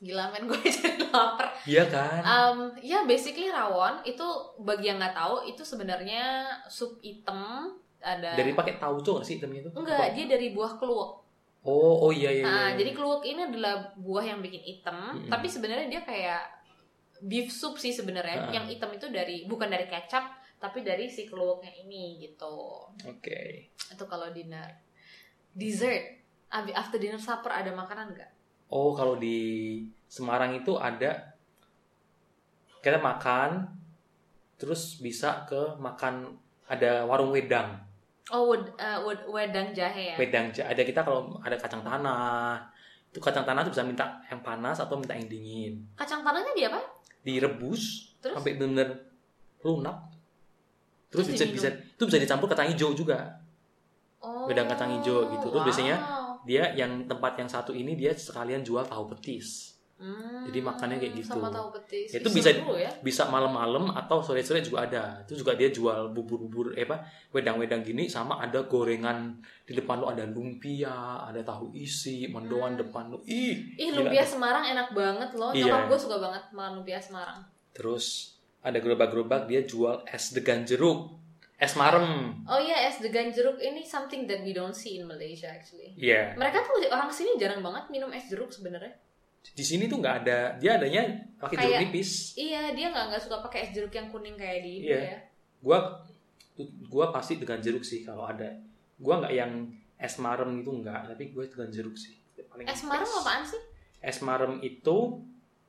gila men gue jadi lapar.
Iya kan?
Um, ya basically rawon itu bagi yang nggak tahu itu sebenarnya sup item ada
Dari pakai tauco nggak sih hitamnya itu?
iya. enggak dia dari buah keluak.
Oh, oh iya iya. iya.
Nah, jadi keluak ini adalah buah yang bikin item,
Mm-mm.
tapi sebenarnya dia kayak beef soup sih sebenarnya.
Ah.
Yang item itu dari bukan dari kecap tapi dari si keluaknya ini gitu.
Oke.
Itu kalau dinner. Dessert Abi- after dinner supper ada makanan nggak?
Oh, kalau di Semarang itu ada kita makan terus bisa ke makan ada warung wedang.
Oh, wed- eh, wed- wedang jahe ya.
Wedang ja- ada kita kalau ada kacang tanah. Itu kacang tanah tuh bisa minta yang panas atau minta yang dingin.
Kacang tanahnya dia apa?
Direbus
Terus?
sampai benar lunak. Terus,
Terus
bisa
diminum?
bisa itu bisa dicampur kacang hijau juga.
Oh.
Wedang kacang hijau gitu. Terus biasanya
wow.
Dia yang tempat yang satu ini dia sekalian jual tahu petis.
Hmm,
Jadi makannya kayak gitu.
Sama tahu petis.
Itu
Ih,
bisa-
seru ya.
bisa malam-malam atau sore-sore juga ada. Itu juga dia jual bubur-bubur eh apa wedang-wedang gini sama ada gorengan di depan lu ada lumpia, ada tahu isi, mendoan
Hmm.
depan lu. Ih.
Ih,
gila.
lumpia Semarang enak banget loh.
Iya.
Nyokap gue suka banget makan lumpia Semarang.
Terus ada gerobak-gerobak dia jual es degan jeruk, es marem.
Oh iya, es degan jeruk ini something that we don't see in Malaysia actually.
Iya.
Mereka tuh orang sini jarang banget minum es jeruk sebenarnya.
Di sini tuh nggak ada, dia adanya pakai jeruk
Kayak-
nipis.
Iya, dia nggak nggak suka pakai es jeruk yang kuning kayak di Indo
Iya.
ya.
Gua gua pasti dengan jeruk sih kalau ada. Gua nggak yang es marem itu nggak, tapi gue dengan jeruk sih. Paling
Es Semarang
best.
apaan sih?
es marem itu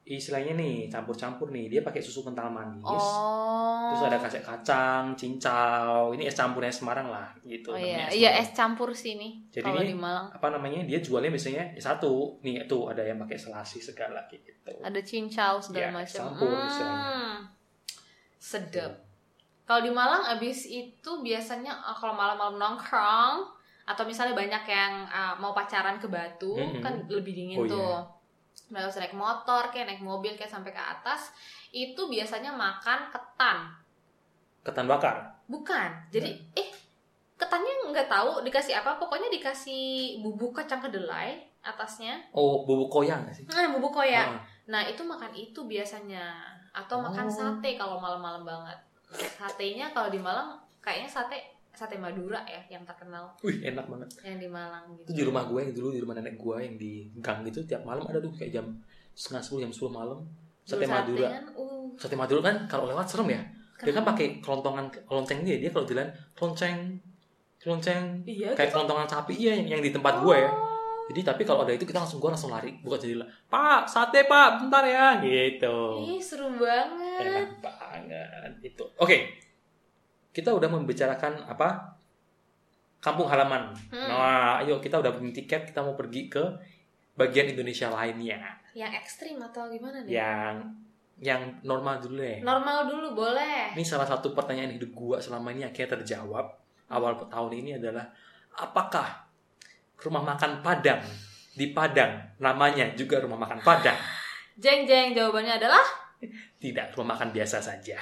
istilahnya nih campur-campur nih dia pakai susu kental manis
Oh.
terus ada kasih kacang cincau ini es campurnya Semarang lah gitu
Oh
namanya
iya, iya
marem.
es campur sini
Jadi
kalau
ini-
di Malang.
apa namanya dia jualnya biasanya ya satu nih itu ada yang pakai selasi segala kayak gitu
Ada cincau segala
Iya,
macam. Hmm.
campur istilahnya.
Sedap. Kalau di Malang abis itu biasanya eh, kalau malam-malam nongkrong atau misalnya banyak yang eh, mau pacaran ke Batu
Mm-mm.
kan lebih dingin
Oh,
tuh.
iya.
Mereka harus naik motor, kayak naik mobil, kayak sampai ke atas. Itu biasanya makan ketan,
ketan bakar
bukan? Jadi
Hmm.
eh ketannya nggak tahu dikasih apa, pokoknya dikasih bubuk kacang kedelai atasnya.
oh bubuk koyang nggak sih
Nah, bubuk koya.
Ah,
Nah itu makan itu biasanya atau makan
Oh.
sate kalau malam-malam banget. Satenya kalau di Malang kayaknya sate sate Madura ya yang terkenal
Ah, wih enak banget
yang di Malang gitu.
itu di rumah gue yang dulu di rumah nenek gue yang di gang gitu tiap malam ada tuh kayak jam setengah sepuluh jam sepuluh malam sate madura
kan, uh,
sate madura kan kalau lewat serem ya dia kan
kenapa?
pakai kelontongan lonceng dia dia kalau jalan lonceng lonceng
Iya.
kayak kelontongan sapi iya yang, yang di tempat gue ya jadi tapi kalau ada itu kita langsung gue langsung lari bukan jadi pak sate pak bentar ya
Oh.
gitu
Ih seru banget.
enak banget itu oke kita udah membicarakan apa kampung halaman
Hmm.
nah ayo kita udah beli tiket kita mau pergi ke bagian Indonesia lainnya
Yang ekstrim atau gimana
Ya.
nih?
yang yang normal dulu deh
Normal dulu boleh.
Ini salah satu pertanyaan hidup gua selama ini akhirnya terjawab awal tahun ini adalah apakah rumah makan Padang di Padang namanya juga rumah makan Padang
Jeng jeng jawabannya adalah
tidak rumah makan biasa saja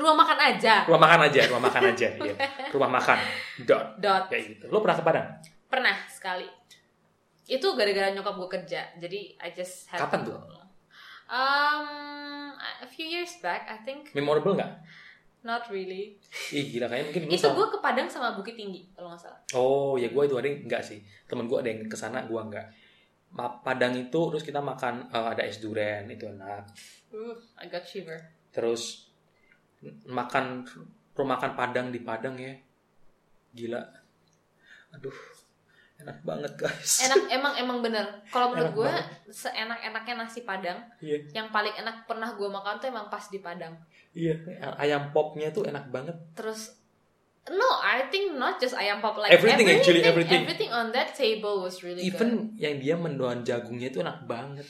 rumah makan aja.
rumah makan aja rumah makan aja iya. rumah makan dot
Dot.
kayak gitu lo pernah ke Padang
Pernah sekali. Itu gara-gara nyokap gue kerja. Jadi I just had
Kapan
to
tuh?
go. Um, a few years back, I think
memorable nggak
not really.
ih gila kayaknya mungkin lu
Itu
sama-
gue ke Padang sama Bukit Tinggi kalau nggak salah.
Oh ya gue itu ada yang enggak sih temen gue ada yang kesana gue enggak Ma- Padang itu terus kita makan eh, ada es durian itu enak
Uh, I got shiver.
terus n- makan rumah makan Padang di Padang ya gila aduh enak banget guys
Enak emang emang bener. Kalau menurut
Enak
gue seenak-enaknya nasi Padang,
Iya.
yang paling enak pernah gue makan tuh emang pas di Padang.
iya ayam popnya tuh enak banget
Terus No, I think not just ayam pop like
Everything, actually, everything.
everything on that table was really good.
even yang dia mendoan jagungnya itu enak banget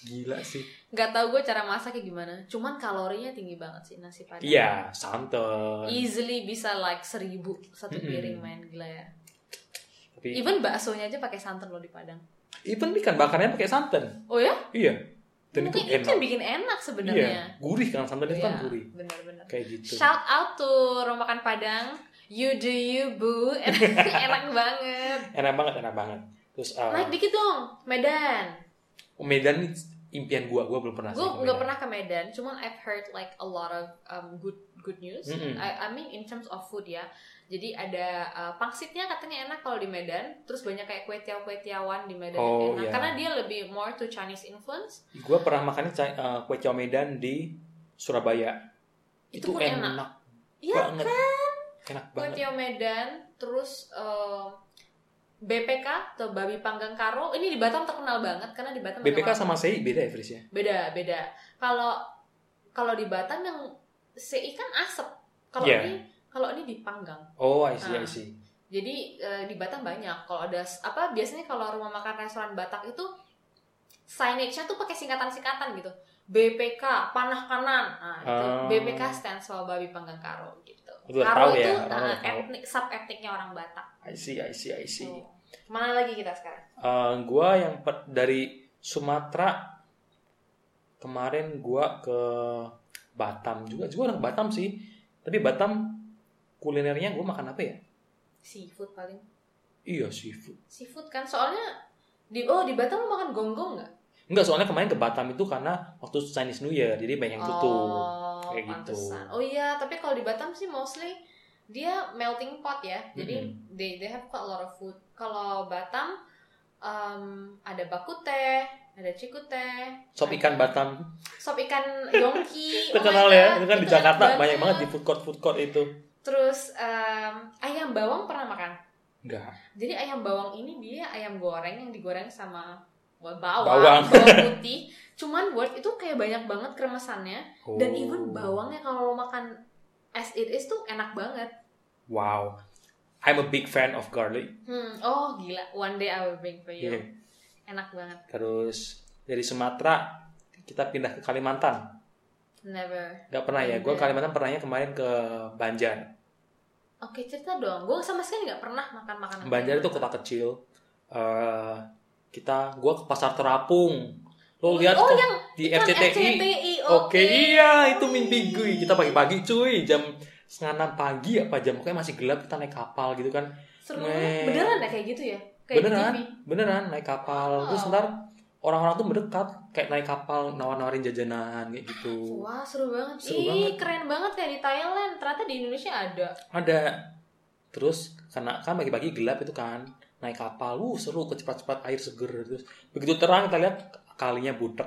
gila sih
nggak tahu gue cara masaknya gimana cuman kalorinya tinggi banget sih nasi padang
Iya, santan.
easily bisa like seribu satu
Mm-mm. Iya.
piring main gila ya
Tapi even,
even baksonya aja pakai santan loh di padang
ikan bakarnya pakai santan.
oh ya
Iya. Dan
mungkin
itu
itu yang
enak.
bikin enak
Iya,
sebenarnya Iya.
gurih kan santan itu kan gurih.
benar-benar
Kayak gitu.
shout out to rumah makan padang you do you boo enak banget
Enak banget, enak banget. Terus uh,
naik dikit dong Medan
Medan nih impian gua, gua belum pernah.
gue
Nah, sih ke
nggak
Medan.
pernah ke Medan cuman I've heard like a lot of um, good good news
Mm-mm.
I, I mean in terms of food ya jadi ada uh, pangsitnya katanya enak kalau di Medan terus banyak kayak kue tiaw kue tiawan di Medan
Oh,
yang enak
iya.
karena dia lebih more to Chinese influence
Gua pernah makannya ca- uh, kue chow Medan di Surabaya.
Itu
Itu,
pun
enak,
enak. iya
banget. Enak
kue
banget.
tiaw Medan terus um, BPK atau babi panggang karo ini di Batam terkenal banget karena di Batam
BPK
memang-
sama SEI beda ya, Fris ya?
beda beda kalau kalau di Batam yang CI kan asap kalau
Iya.
ini kalau ini dipanggang
Oh, I see,
Ah.
I see.
Jadi eh, di Batam banyak. Kalau ada s- apa biasanya kalau rumah makan restoran Batak itu signage-nya tuh pakai singkatan-singkatan gitu. BPK panah kanan. Nah, itu
Ah.
BPK stands for babi panggang karo gitu.
Itu udah
karo
tahu
itu
ya, orang
nah,
udah tahu.
etnik sub etniknya orang Batak.
I see, I see, I see.
Tuh. Kemana lagi kita sekarang?
Eh, gua yang per- dari Sumatera kemarin gua ke Batam juga, juga orang Batam sih. Tapi Batam kulinernya gua makan apa ya?
Seafood paling.
Iya seafood.
Seafood kan soalnya di oh di Batam lu makan gonggong nggak?
Enggak soalnya kemarin ke Batam itu karena waktu Chinese New Year, jadi banyak yang tutup.
Oh,
kayak gitu.
pantesan. Oh iya, tapi kalau di Batam sih mostly dia melting pot ya. Jadi they they have quite a lot of food. Kalau Batam um, ada bakute, ada cikute,
Sop ikan Batam
sop ikan yongki.
itu
Oh my
kenal ya,
God,
itu kan di
itu enak
Jakarta banyak banget di food court food court itu.
Terus um, ayam bawang pernah makan?
Enggak.
Jadi ayam bawang ini dia ayam goreng yang digoreng sama bawang,
Bawang.
bawang. putih. Cuman worth itu kayak banyak banget kremesannya.
Oh.
Dan even bawangnya kalau lo makan as it is tuh enak banget.
Wow. I'm a big fan of garlic.
Hmm, oh gila, one day I will bring for you.
Iya.
Enak banget,
Terus dari Sumatera kita pindah ke Kalimantan.
never.
Gak pernah ya. Gue
Iya.
Kalimantan pernahnya kemarin ke Banjar.
Oke cerita dong, gue sama sekali nggak pernah makan makanan. gitu.
Banjar itu kota kecil. Eh kita gue ke pasar terapung. Lo lihat
oh,
tuh
yang
di
iklan
RCTI.
RCTI,
Oke, iya itu
Wih.
mimpi gue. Kita pagi-pagi cuy, jam setengah enam pagi apa jam pokoknya masih gelap kita naik kapal gitu kan.
Seru
Weh.
banget, beneran ya kayak gitu ya? Kayak di
Beneran.
TV.
Beneran naik kapal. Terus
Wow.
ntar orang-orang tuh mendekat kayak naik kapal nawar-nawarin jajanan kayak gitu.
Wah seru banget.
Seru
Ih
banget.
keren banget ya di Thailand. Ternyata di Indonesia ada.
Ada. Terus karena kan pagi-pagi gelap itu kan naik kapal, wuh seru kecepat-cepat air seger terus begitu terang kita lihat kalinya butek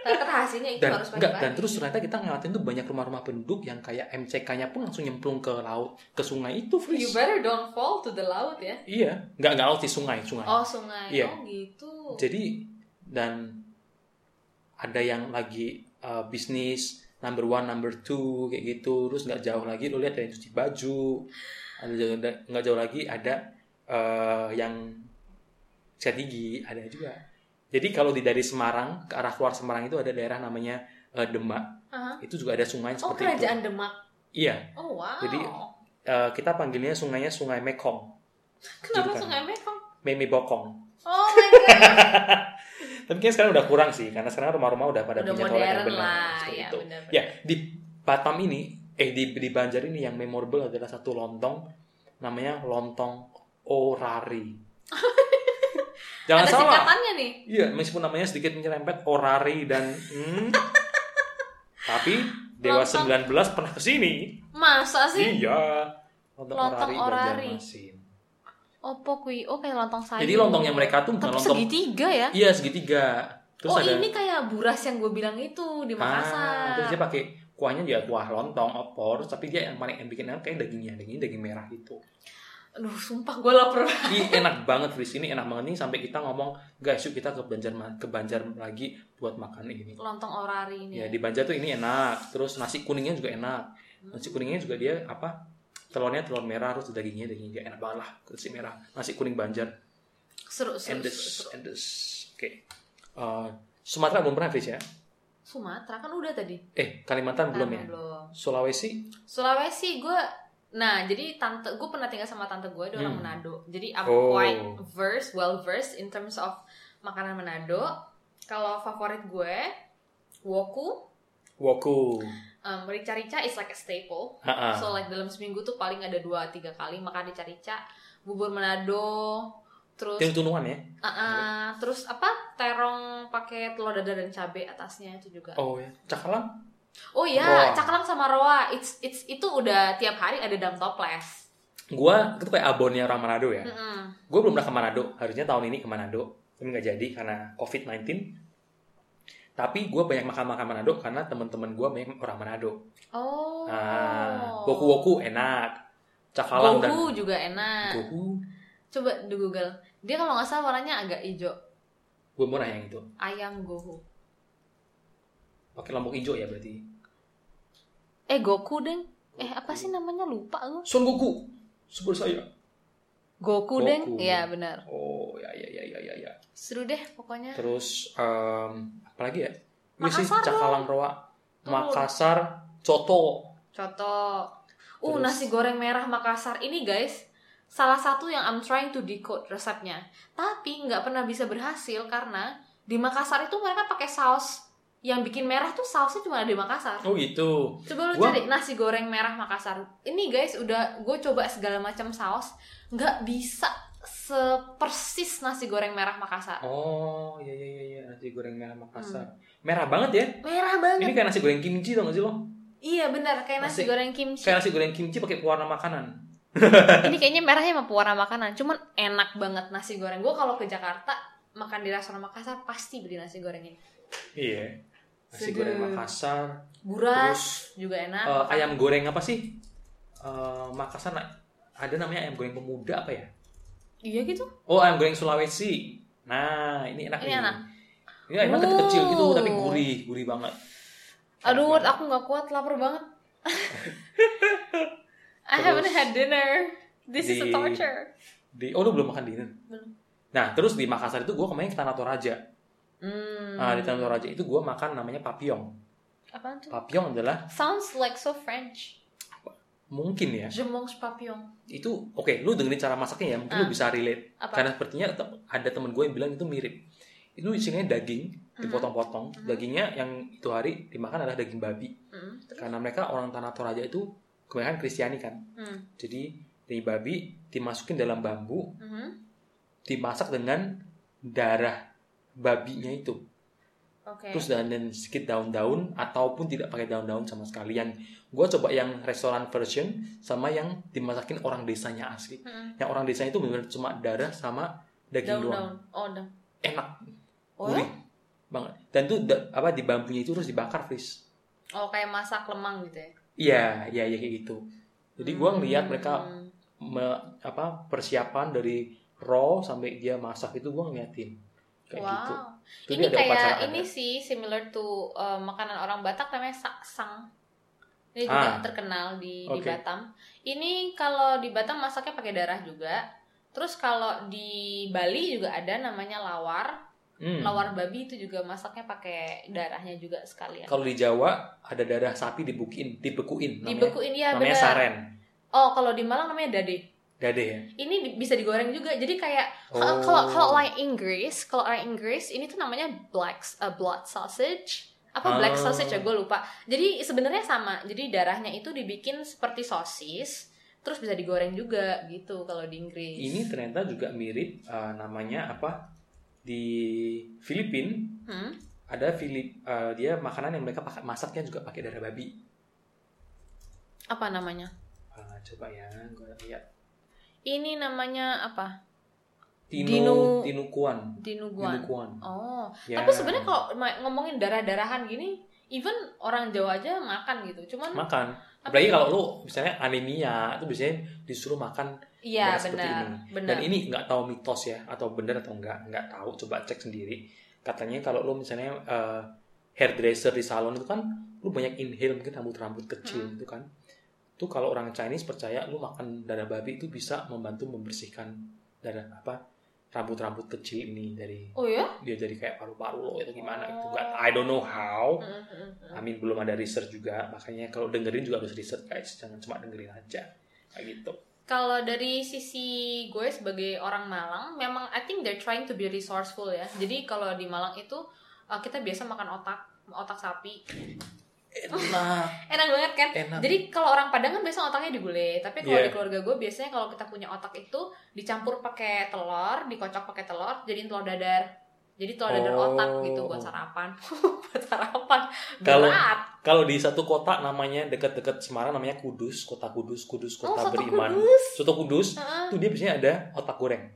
Ternyata hasilnya itu
dan
harus
enggak,
pagi-pagi.
dan terus ternyata kita ngeliatin tuh banyak rumah-rumah penduduk yang kayak MCK-nya pun langsung nyemplung ke laut ke sungai itu
You
Fris
better don't fall to the laut ya.
iya nggak nggak laut sih sungai sungai
Oh sungai.
Iya.
Oh gitu.
jadi dan ada yang lagi uh, bisnis number one number two kayak gitu terus nggak jauh lagi lo lihat ada yang cuci baju ada jauh nggak jauh lagi ada uh, yang sikat gigi ada juga jadi kalau di dari Semarang ke arah keluar Semarang itu ada daerah namanya uh, Demak
Aha.
itu juga ada sungai
Oh
seperti itu
kerajaan Demak.
iya
Oh wow.
Jadi- Uh, kita panggilnya sungainya Sungai Mekong,
Kenapa
Julukan.
sungai Mekong?
Meme Bokong.
Oh my god.
Tapi kayaknya sekarang udah kurang sih, karena sekarang rumah-rumah udah pada
Udah
punya toilet yang
modern
benar.
lah,
seperti
ya
itu.
benar.
Ya, di Batam ini, eh di, di Banjar ini yang memorable adalah satu lontong, namanya lontong orari. Jangan
Ada
salah.
singkatannya nih.
Iya, meskipun namanya sedikit menyerempet orari dan hmm, tapi Dewa
Lontong.
19 pernah kesini.
Masa sih?
Iya. Lontong, orari,
Lontong orari.
Banjarmasin.
Opo kui, oh kayak lontong sayur.
Jadi lontongnya mereka tuh bukan
Tapi
lontong
segitiga ya.
Iya segitiga. Terus
oh
ada
ini kayak buras yang gue bilang itu di
Ah,
Makassar.
terus dia pakai kuahnya dia kuah lontong, opor, tapi dia yang paling yang bikin enak kayak dagingnya, dagingnya daging merah gitu.
Aduh sumpah gue lapar.
Ih enak banget Fris ini enak banget nih sampai kita ngomong guys yuk kita ke Banjar ke Banjar lagi buat makan ini.
Lontong orari ini.
Ya di Banjar tuh ini enak. Terus nasi kuningnya juga enak.
Hmm.
Nasi kuningnya juga dia apa? Telurnya telur merah terus dagingnya dagingnya dia enak banget lah nasi merah nasi kuning Banjar
Seru seru.
endes
seru, seru.
endes. Oke. Eh, Sumatera belum pernah Fris ya?
Sumatera kan udah tadi.
Eh, Kalimantan belum ya?
Tanah Belum.
Sulawesi?
Sulawesi gue Nah, jadi tante gue pernah tinggal sama tante gue, dia orang
Hmm.
Manado. Jadi I'm
Oh.
quite versed, well versed in terms of makanan Manado. Kalau favorit gue, woku,
Woku.
um, rica-rica is like a staple.
Ha-ha.
So like dalam seminggu tuh paling ada dua tiga kali makan rica-rica, bubur Manado, terus
Itu tunuan ya?
Ah, ah, terus apa terong pakai telur dadar dan cabe atasnya itu juga.
Oh ya. Cakalang?
Oh iya,
Roa.
cakalang sama roa, it's it's itu udah tiap hari ada dalam toples.
Gua itu kayak abonnya orang Manado ya.
Mm-mm.
Gue belum pernah ke Manado. Harusnya tahun ini ke Manado. Tapi nggak jadi karena COVID-19. Tapi gue banyak makan-makan Manado karena teman-teman gue banyak orang Manado.
Oh.
Nah, woku-woku enak. Cakalang dan
Gohu juga enak.
gohu.
Coba di Google. Dia kalau nggak salah warnanya agak hijau.
Gue murah yang itu.
Ayam gohu.
Pakai lombok hijau ya berarti.
Eh Goku deng. Eh apa sih namanya lupa lu?
Son Goku. Super saya.
Goku,
Goku.
deng. Iya benar.
Oh ya ya ya ya ya. ya.
Seru deh pokoknya.
Terus em apa lagi ya? Ini sih
Makassar
Cakalang Roa,
Tuh.
Makassar, Coto.
Contoh. Uh
Terus.
nasi goreng merah Makassar ini guys. Salah satu yang I'm trying to decode resepnya. Tapi nggak pernah bisa berhasil karena di Makassar itu mereka pakai saus yang bikin merah tuh sausnya cuma ada di Makassar.
Oh gitu.
Coba lu
Gua-
cari nasi goreng merah Makassar. Ini guys udah gue coba segala macam saus, nggak bisa sepersis nasi goreng merah Makassar.
Oh ya ya ya, ya. nasi goreng merah
Hmm.
Makassar. Merah banget ya.
Merah
Ini
banget.
kayak nasi goreng kimchi tau gak sih lo?
Iya benar kayak nasi
Masih-
goreng kimchi.
Kayak nasi goreng kimchi pakai pewarna makanan.
Ini kayaknya merahnya emang pewarna makanan, cuman enak banget nasi goreng. Gue kalau ke Jakarta makan di restoran Makassar pasti beli nasi goreng ini.
Iya. Nasi
Sedap.
goreng Makassar.
Buras juga enak.
Eh, ayam goreng apa sih? Eh, Makassar na- ada namanya ayam goreng pemuda apa ya?
Iya gitu.
Oh, ayam goreng Sulawesi. Nah, ini enak
Ini
nih.
enak.
Ini enak tapi
Oh.
kecil gitu, tapi gurih, gurih banget. Enak
Aduh, Word, aku nggak kuat, lapar banget. I haven't
Terus-
had dinner. This is a
Di-
torture.
Di, oh, lu belum makan dinner?
Belum.
Nah, terus di Makassar itu gue kemarin ke Tanah Toraja.
Hmm.
Nah, di Tanah Toraja itu gue makan namanya papillon.
Apaan tuh?
Papillon adalah
Sounds like so French.
mungkin ya.
Je mange papillon.
Itu oke, lu dengerin cara masaknya ya, mungkin lu
Ah.
bisa relate.
Apa?
Karena sepertinya te- ada temen gue yang bilang itu mirip. Itu isinya daging dipotong-potong.
Mhm.
Dagingnya yang itu hari dimakan adalah daging babi.
Hmm, terus?
Karena mereka orang Tanah Toraja itu kebanyakan Kristiani kan.
Hmm,
Jadi dari babi dimasukin dalam bambu,
mhm.
dimasak dengan darah babinya itu.
Oke.
Terus dan, dan sedikit daun-daun ataupun tidak pakai daun-daun sama sekalian. Gua coba yang restoran version sama yang dimasakin orang desanya asli.
Hmm,
Yang orang desanya itu benar cuma darah sama daging doang.
Daun-daun. Oh, daun.
Enak,
Oh,
gurih banget. Dan tuh da- apa di bambunya itu terus dibakar, Fris.
oh, kayak masak lemang gitu ya.
Iya, iya iya kayak gitu. Jadi gua ngeliat mereka
Hmm.
me- apa persiapan dari raw sampai dia masak itu gue ngeliatin kayak
wow.
gitu. Terus
Ini
dia ada ya? upacara
kayak
adat.
ini sih similar to uh, makanan orang Batak namanya saksang. Ini
Ah.
juga terkenal di, di
Oke.
Batam. Ini kalau di Batam masaknya pakai darah juga. Terus kalau di Bali juga ada namanya lawar.
Hmm.
lawar babi itu juga masaknya pakai darahnya juga sekalian.
Kalau di Jawa ada darah sapi dibukin, dibekuin namanya.
Dibekuin ya
namanya
benar.
saren.
Oh, kalau di Malang namanya dade.
Dade ya.
Ini di- bisa digoreng juga. Jadi kayak
Oh.
kalau kalau- kalau orang Inggris, kalau orang Inggris ini tuh namanya black uh, blood sausage. Apa black
Ah.
sausage ya gue lupa. Jadi sebenarnya sama. Jadi darahnya itu dibikin seperti sosis, terus bisa digoreng juga gitu kalau di Inggris.
ini ternyata juga mirip eh, namanya apa di Filipina
Hmm?
ada Filip eh, dia makanan yang mereka pakai masaknya juga pakai darah babi.
Apa namanya?
Ah, coba ya, gue lihat.
Ini namanya apa?
Tinu
Dinu-
Tinukuan.
Dinuguan.
Tinukuan.
Oh,
Ya.
Tapi sebenarnya kalau ma- ngomongin darah-darahan gini, even orang Jawa aja makan gitu. Cuman
makan
apa ya?
apalagi
sih?
kalau lu misalnya anemia itu biasanya disuruh makan
iya
darah seperti
benar,
ini.
benar.
dan ini nggak tahu mitos ya atau benar atau enggak nggak tahu coba cek sendiri katanya kalau lu misalnya eh, hairdresser di salon itu kan lu banyak inhale mungkin rambut-rambut kecil
Mm.
gitu kan itu kalau orang Chinese percaya lu makan darah babi itu bisa membantu membersihkan darah apa rambut-rambut kecil ini dari
Oh ya?
dia jadi kayak paru-paru lo itu gimana itu
Oh.
Nggak- I don't know how
Heeh, heeh, heeh.
Amin belum ada research juga makanya kalau dengerin juga harus research guys jangan cuma dengerin aja kayak gitu
Kalau dari sisi gue sebagai orang Malang, memang I think they're trying to be resourceful ya. Jadi kalau di Malang itu uh, kita biasa makan otak otak sapi
enak
enak banget kan
enak
jadi kalau orang Padang kan biasa otaknya digulai tapi
Iya.
kalau di keluarga gue biasanya kalau kita punya otak itu dicampur pakai telur dikocok pakai telur jadiin telur dadar jadi telur dadar
Oh.
otak gitu buat sarapan buat sarapan
Kalau-
berat
kalau di satu kota namanya dekat-dekat Semarang namanya Kudus kota Kudus Kudus
oh
kota
soto
beriman
kudus
soto Kudus
Heeh.
itu dia biasanya ada otak goreng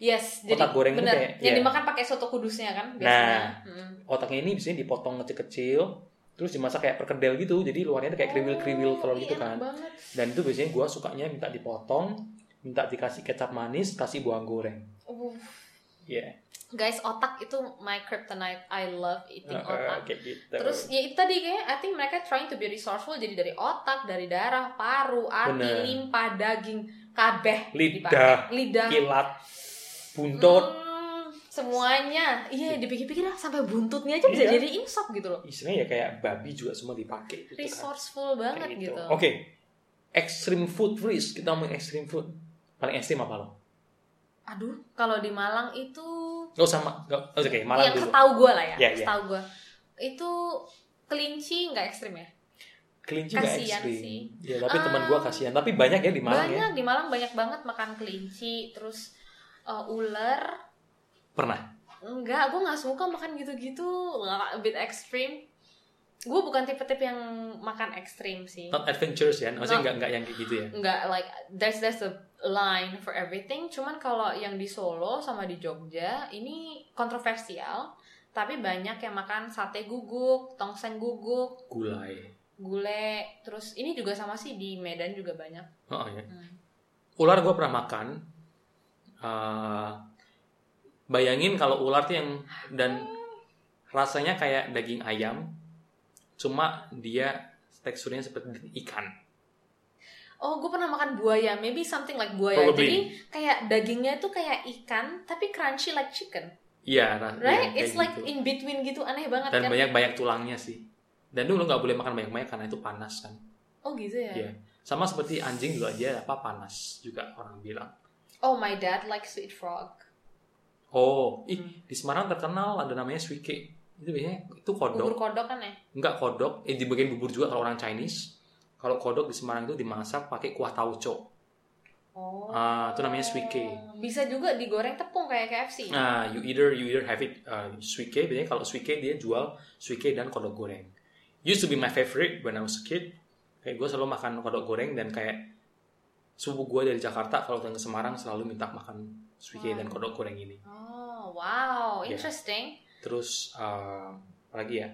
yes jadi
Otak goreng itu
bener
kayak- iya.
yang dimakan pakai soto kudusnya kan biasanya
Nah.
Heeh.
otaknya ini biasanya dipotong kecil-kecil terus dimasak kayak perkedel gitu jadi luarnya tuh kayak kriwil-kriwil
Oh,
kalau
iya,
gitu
enak
kan
banget.
dan itu biasanya gua sukanya minta dipotong minta dikasih kecap manis kasih bawang goreng
Uh,
ya
guys otak itu my kryptonite I love eating otak
kayak gitu
Terus ya itu tadi kayaknya I think mereka trying to be resourceful jadi dari otak, dari darah, paru, hati,
Bener.
limpa, daging,
lidah
kabeh
Iya,
dipakai. lidah,
kilat buntut
Hmm, semuanya. Iya, dipikir-pikir lah, sampai buntutnya aja bisa
Iya.
jadi insop gitu loh.
istilahnya ya kayak babi juga semua dipakai gitu kan.
Resourceful banget
Kayak
gitu.
Oke, extreme food freeze. Kita ngomongin extreme food. Paling ekstrim apa lo?
Aduh, kalau di Malang itu
Gak usah, Ma- gak, oke, malam
yang
dulu.
setahu gue lah ya,
Iya, iya.
setahu gue itu kelinci nggak ekstrim ya?
Kelinci gak
Kasian
ekstrim.
sih.
Ya, tapi
Ah.
teman gua kasihan. Tapi banyak ya di Malang ya.
banyak di Malang banyak banget makan kelinci, terus eh, ular,
Pernah.
Enggak, gue nggak suka makan gitu-gitu, nggak- a bit ekstrim. Gue bukan tipe-tipe yang makan ekstrim sih.
Not adventurous ya. Maksudnya
Not-
nggak nggak yang kayak gitu ya.
Enggak, like there's there's a line for everything. Cuman kalau yang di Solo sama di Jogja ini kontroversial, tapi banyak yang makan sate guguk, tongseng guguk,
Gulai.
gulai. Terus ini juga sama sih di Medan juga banyak.
Oh, ya.
Hmm.
Ular gua pernah makan. Eh, bayangin kalau ular tuh yang dan rasanya kayak daging ayam, cuma dia teksturnya seperti ikan.
Oh, gue pernah makan buaya, maybe something like buaya.
Probably.
Jadi kayak dagingnya tuh kayak ikan, tapi crunchy like chicken.
Iya, nah, ya,
Right?
kayak
It's like
gitu.
in between gitu aneh banget
dan
kan.
banyak banyak tulangnya sih dan dulu nggak boleh makan banyak banyak karena itu panas kan
Oh gitu ya.
Iya. sama seperti anjing juga dia apa panas juga orang bilang
Oh my dad like sweet frog.
oh ih
Hmm.
di Semarang terkenal ada namanya suike itu biasanya itu kodok
Bubur kodok kan ya?
nggak kodok eh, di bagian bubur juga kalau orang Chinese kalau kodok di Semarang itu dimasak pakai kuah tauco
Oh.
ah itu namanya suike
Bisa juga digoreng tepung kayak KFC.
nah you either you either have it uh, suike biasanya kalau suike dia jual suike dan kodok goreng used to be my favorite when I was a kid kayak gue selalu makan kodok goreng dan kayak subuh gue dari Jakarta kalau datang ke Semarang selalu minta makan suike dan kodok goreng ini
Oh, wow,
Iya.
interesting.
terus uh, apa lagi ya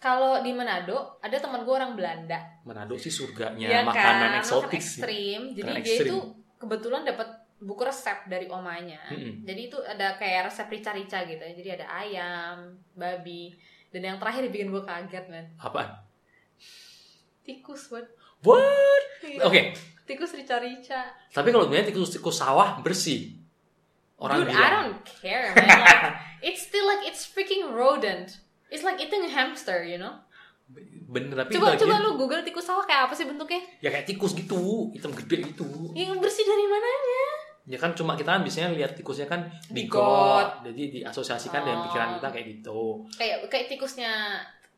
Kalau di Manado ada teman gue orang Belanda.
Manado sih surganya
Iya
Ya, makanan
kan? Makan
eksotik sih
ekstrim. Jadi
Makanan
dia
ekstrim.
itu kebetulan dapat buku resep dari omanya.
Mm-mm.
Jadi itu ada kayak resep rica-rica gitu. ya. Jadi ada ayam, babi, dan yang terakhir bikin gue kaget man.
apaan
Tikus buat.
what
Iya.
oke
Tikus rica-rica.
tapi kalau sebenarnya tikus tikus sawah bersih orang
Dude, I
bilang
don't care, man. Like, it's still like it's freaking rodent. It's like eating a hamster, you know.
bener tapi
Coba
bagian-
coba lu Google tikus sawah kayak apa sih bentuknya?
ya kayak tikus gitu hitam gede gitu
Yang bersih dari mananya?
Ya kan cuma kita kan biasanya lihat tikusnya kan
Di
bigot. Jadi diasosiasikan dengan
Oh.
pikiran kita kayak gitu.
Kayak kayak tikusnya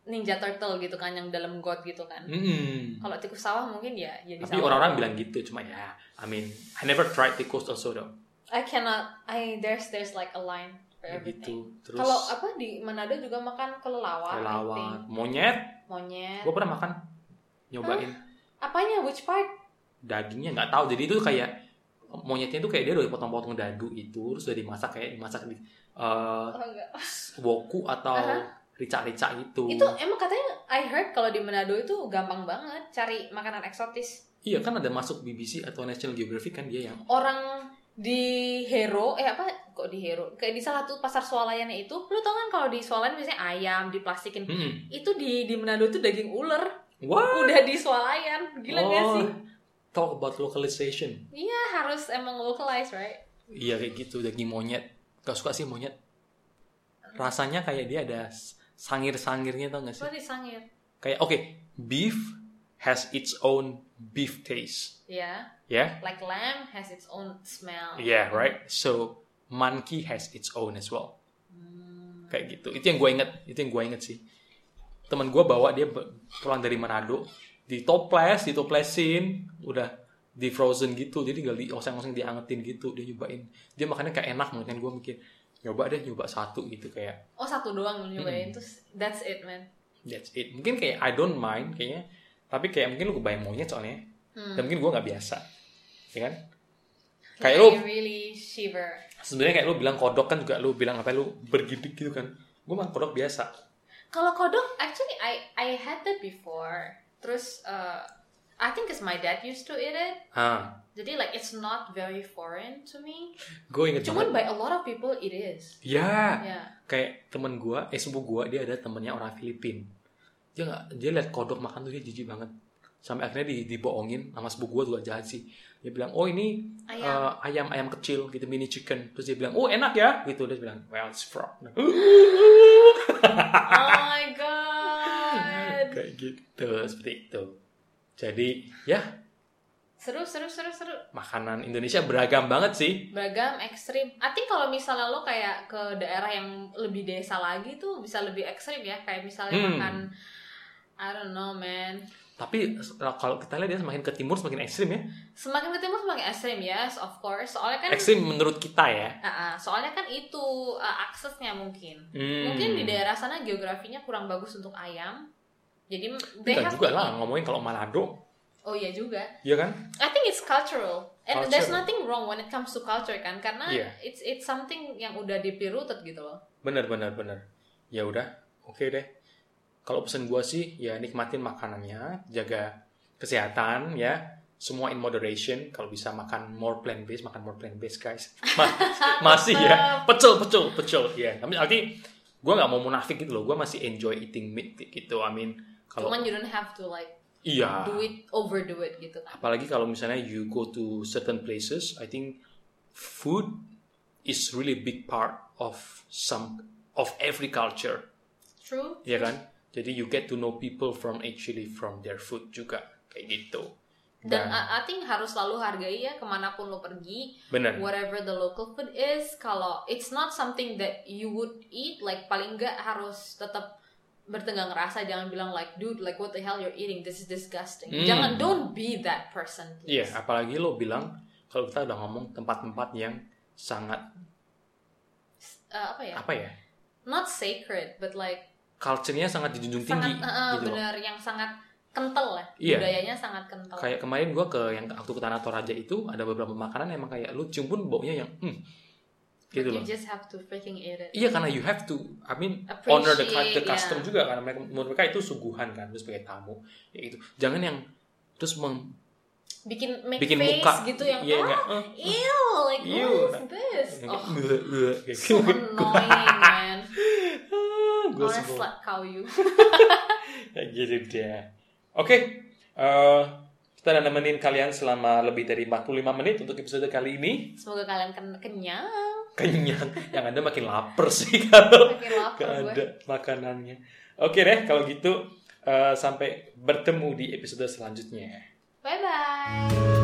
Ninja Turtle gitu kan yang dalam got gitu kan.
Mm-mm.
Kalau tikus sawah mungkin ya ya di
Tapi
sawah.
orang-orang bilang gitu cuma ya I mean I never tried tikus also though.
I cannot I there's there's like a line for
Kayak
everything.
gitu. Terus
Kalau apa di Manado juga makan kelelawar, I think.
kelelawar, monyet,
monyet.
gue pernah makan nyobain
Apanya which part?
dagingnya nggak tahu. Jadi itu kayak monyetnya itu kayak dia udah potong-potong dadu itu terus udah dimasak kayak dimasak di eh,
Oh, enggak.
woku atau
Aha.
rica-rica gitu.
Itu emang katanya I heard kalau di Manado itu gampang banget cari makanan eksotis.
Iya kan ada masuk BBC atau National Geographic kan dia yang
orang di Hero eh apa kok di Hero kayak di salah satu pasar swalayannya itu lu tau kan kalau di swalayan biasanya ayam diplastikin
Mm-mm.
itu di di Manado tuh daging ular
Wah.
udah di
Oh.
swalayan gila gak sih
Talk about localization.
ya harus emang localized right
Iya kayak gitu daging monyet. Gak suka sih monyet. Rasanya kayak dia ada s- sangir-sangirnya tau gak sih?
Coba disangir.
Kayak oke, beef has its own beef taste.
Ya,
Yeah?
like lamb has its own smell.
Yeah, right? So monkey has its own as well.
Hmm.
Kayak gitu. Itu yang gue inget, itu yang gue inget sih. Temen gue bawa dia be- pulang dari Manado, di toples, di toplesin, udah di frozen gitu. Jadi gak di oseng-oseng diangetin gitu, dia nyobain. Dia makannya kayak enak banget kan gue mikir, nyoba deh nyoba satu gitu kayak
Oh satu doang lu
Hmm.
nyobain, terus that's it man.
That's it. Mungkin kayak I don't mind kayaknya. Tapi kayak mungkin lu kebayang monyet soalnya.
Hmm. Iya,
Dan mungkin gua nggak biasa. Ya kan?
Like,
Kayak lu
I really shiver.
sebenarnya kayak lu bilang kodok kan juga lu bilang apa lu bergidik gitu kan. Gua mah kodok biasa.
Kalau kodok, actually I I had that before. Terus uh, I think it's my dad used to eat it.
Ha.
Jadi like it's not very foreign to me.
Gue inget
Cuman
banget.
by a lot of people it is.
Ya,
Yeah.
kayak temen gua, eh sepupu gua dia ada temennya orang Filipin. Dia nggak dia lihat kodok makan tuh dia jijik banget. Sampai akhirnya di, dibohongin sama sepupu gua juga jahat sih. Dia bilang, "Oh, ini
Ayam.
eh, ayam ayam kecil gitu mini chicken." Terus dia bilang, "Oh, enak ya." Gitu dia bilang, "Well, it's frog." Nah,
oh my god.
kayak gitu seperti itu jadi ya
Seru seru seru seru.
makanan Indonesia beragam banget sih
Beragam ekstrim. I think kalau misalnya lo kayak ke daerah yang lebih desa lagi tuh bisa lebih ekstrim ya. Kayak misalnya
Hmm.
makan I don't know man.
tapi s- e, kalau kita lihat dia semakin ke timur semakin ekstrim ya
Semakin ke timur semakin ekstrim yes of course. Soalnya kan
ekstrim menurut kita ya
Ah, ah, soalnya kan itu ah, aksesnya mungkin.
Hmm.
Mungkin di daerah sana geografinya kurang bagus untuk ayam. Jadi they
Enggak
have
juga
to
lah
eat-
ngomongin kalau Manado
Oh iya juga.
ya kan
I think it's cultural. And there's
Cultural.
nothing wrong when it comes to culture kan karena
Iya.
it's it's something yang udah dipirutut gitu loh.
bener bener bener ya udah oke deh kalau pesan gua sih ya nikmatin makanannya jaga kesehatan ya semua in moderation kalau bisa makan more plant based makan more plant based guys Ma- masih ya pecel pecel pecel ya tapi arti gua nggak mau munafik gitu loh gua masih enjoy eating meat gitu I mean kalau
Cuman you don't have to like
iya
do it overdo it gitu kan.
apalagi kalau misalnya you go to certain places I think food is really big part of some of every culture
True.
ya kan? Jadi you get to know people from actually from their food juga kayak gitu.
Dan uh, I, I think harus selalu hargai ya kemanapun lo pergi.
bener,
whatever the local food is kalau it's not something that you would eat like paling nggak harus tetap bertenggang rasa jangan bilang like dude like what the hell you're eating this is disgusting
Hmm.
jangan don't be that person
iya.
please
Apalagi lo bilang kalau kita udah ngomong tempat-tempat yang sangat
Uh, apa ya
apa ya?
not sacred but like
Culture-nya sangat dijunjung
sangat
tinggi
uh, uh,
gitu. loh.
benar yang sangat kental lah
Iya.
budayanya sangat kental
Kayak kemarin gua ke yang waktu ke Tanah Toraja itu ada beberapa makanan emang kayak lu cium pun baunya yang hmm, gitu
you
loh.
just have to freaking eat it
Iya karena you have to, I mean honor the, cu-
Hmm. Appreciate,
the custom
yeah.
juga karena mereka, menurut mereka itu suguhan kan, terus sebagai tamu, ya gitu. Jangan yang terus mem-
bikin make
bikin
face
muka
gitu yang
iya,
"Ah,
nggak, eh,
ew like
Ew.
what is this oh so
gue
annoying man I wanna
Ah, semua
slap cow you
Ya gitu deh oke eh, kita udah nemenin kalian selama lebih dari 45 menit untuk episode kali ini
Semoga kalian ken- kenyang.
kenyang yang ada makin lapar sih kalau
Makin
gak
lapar gue.
ada makanannya oke deh kalau gitu eh, sampai bertemu di episode selanjutnya
Bye bye.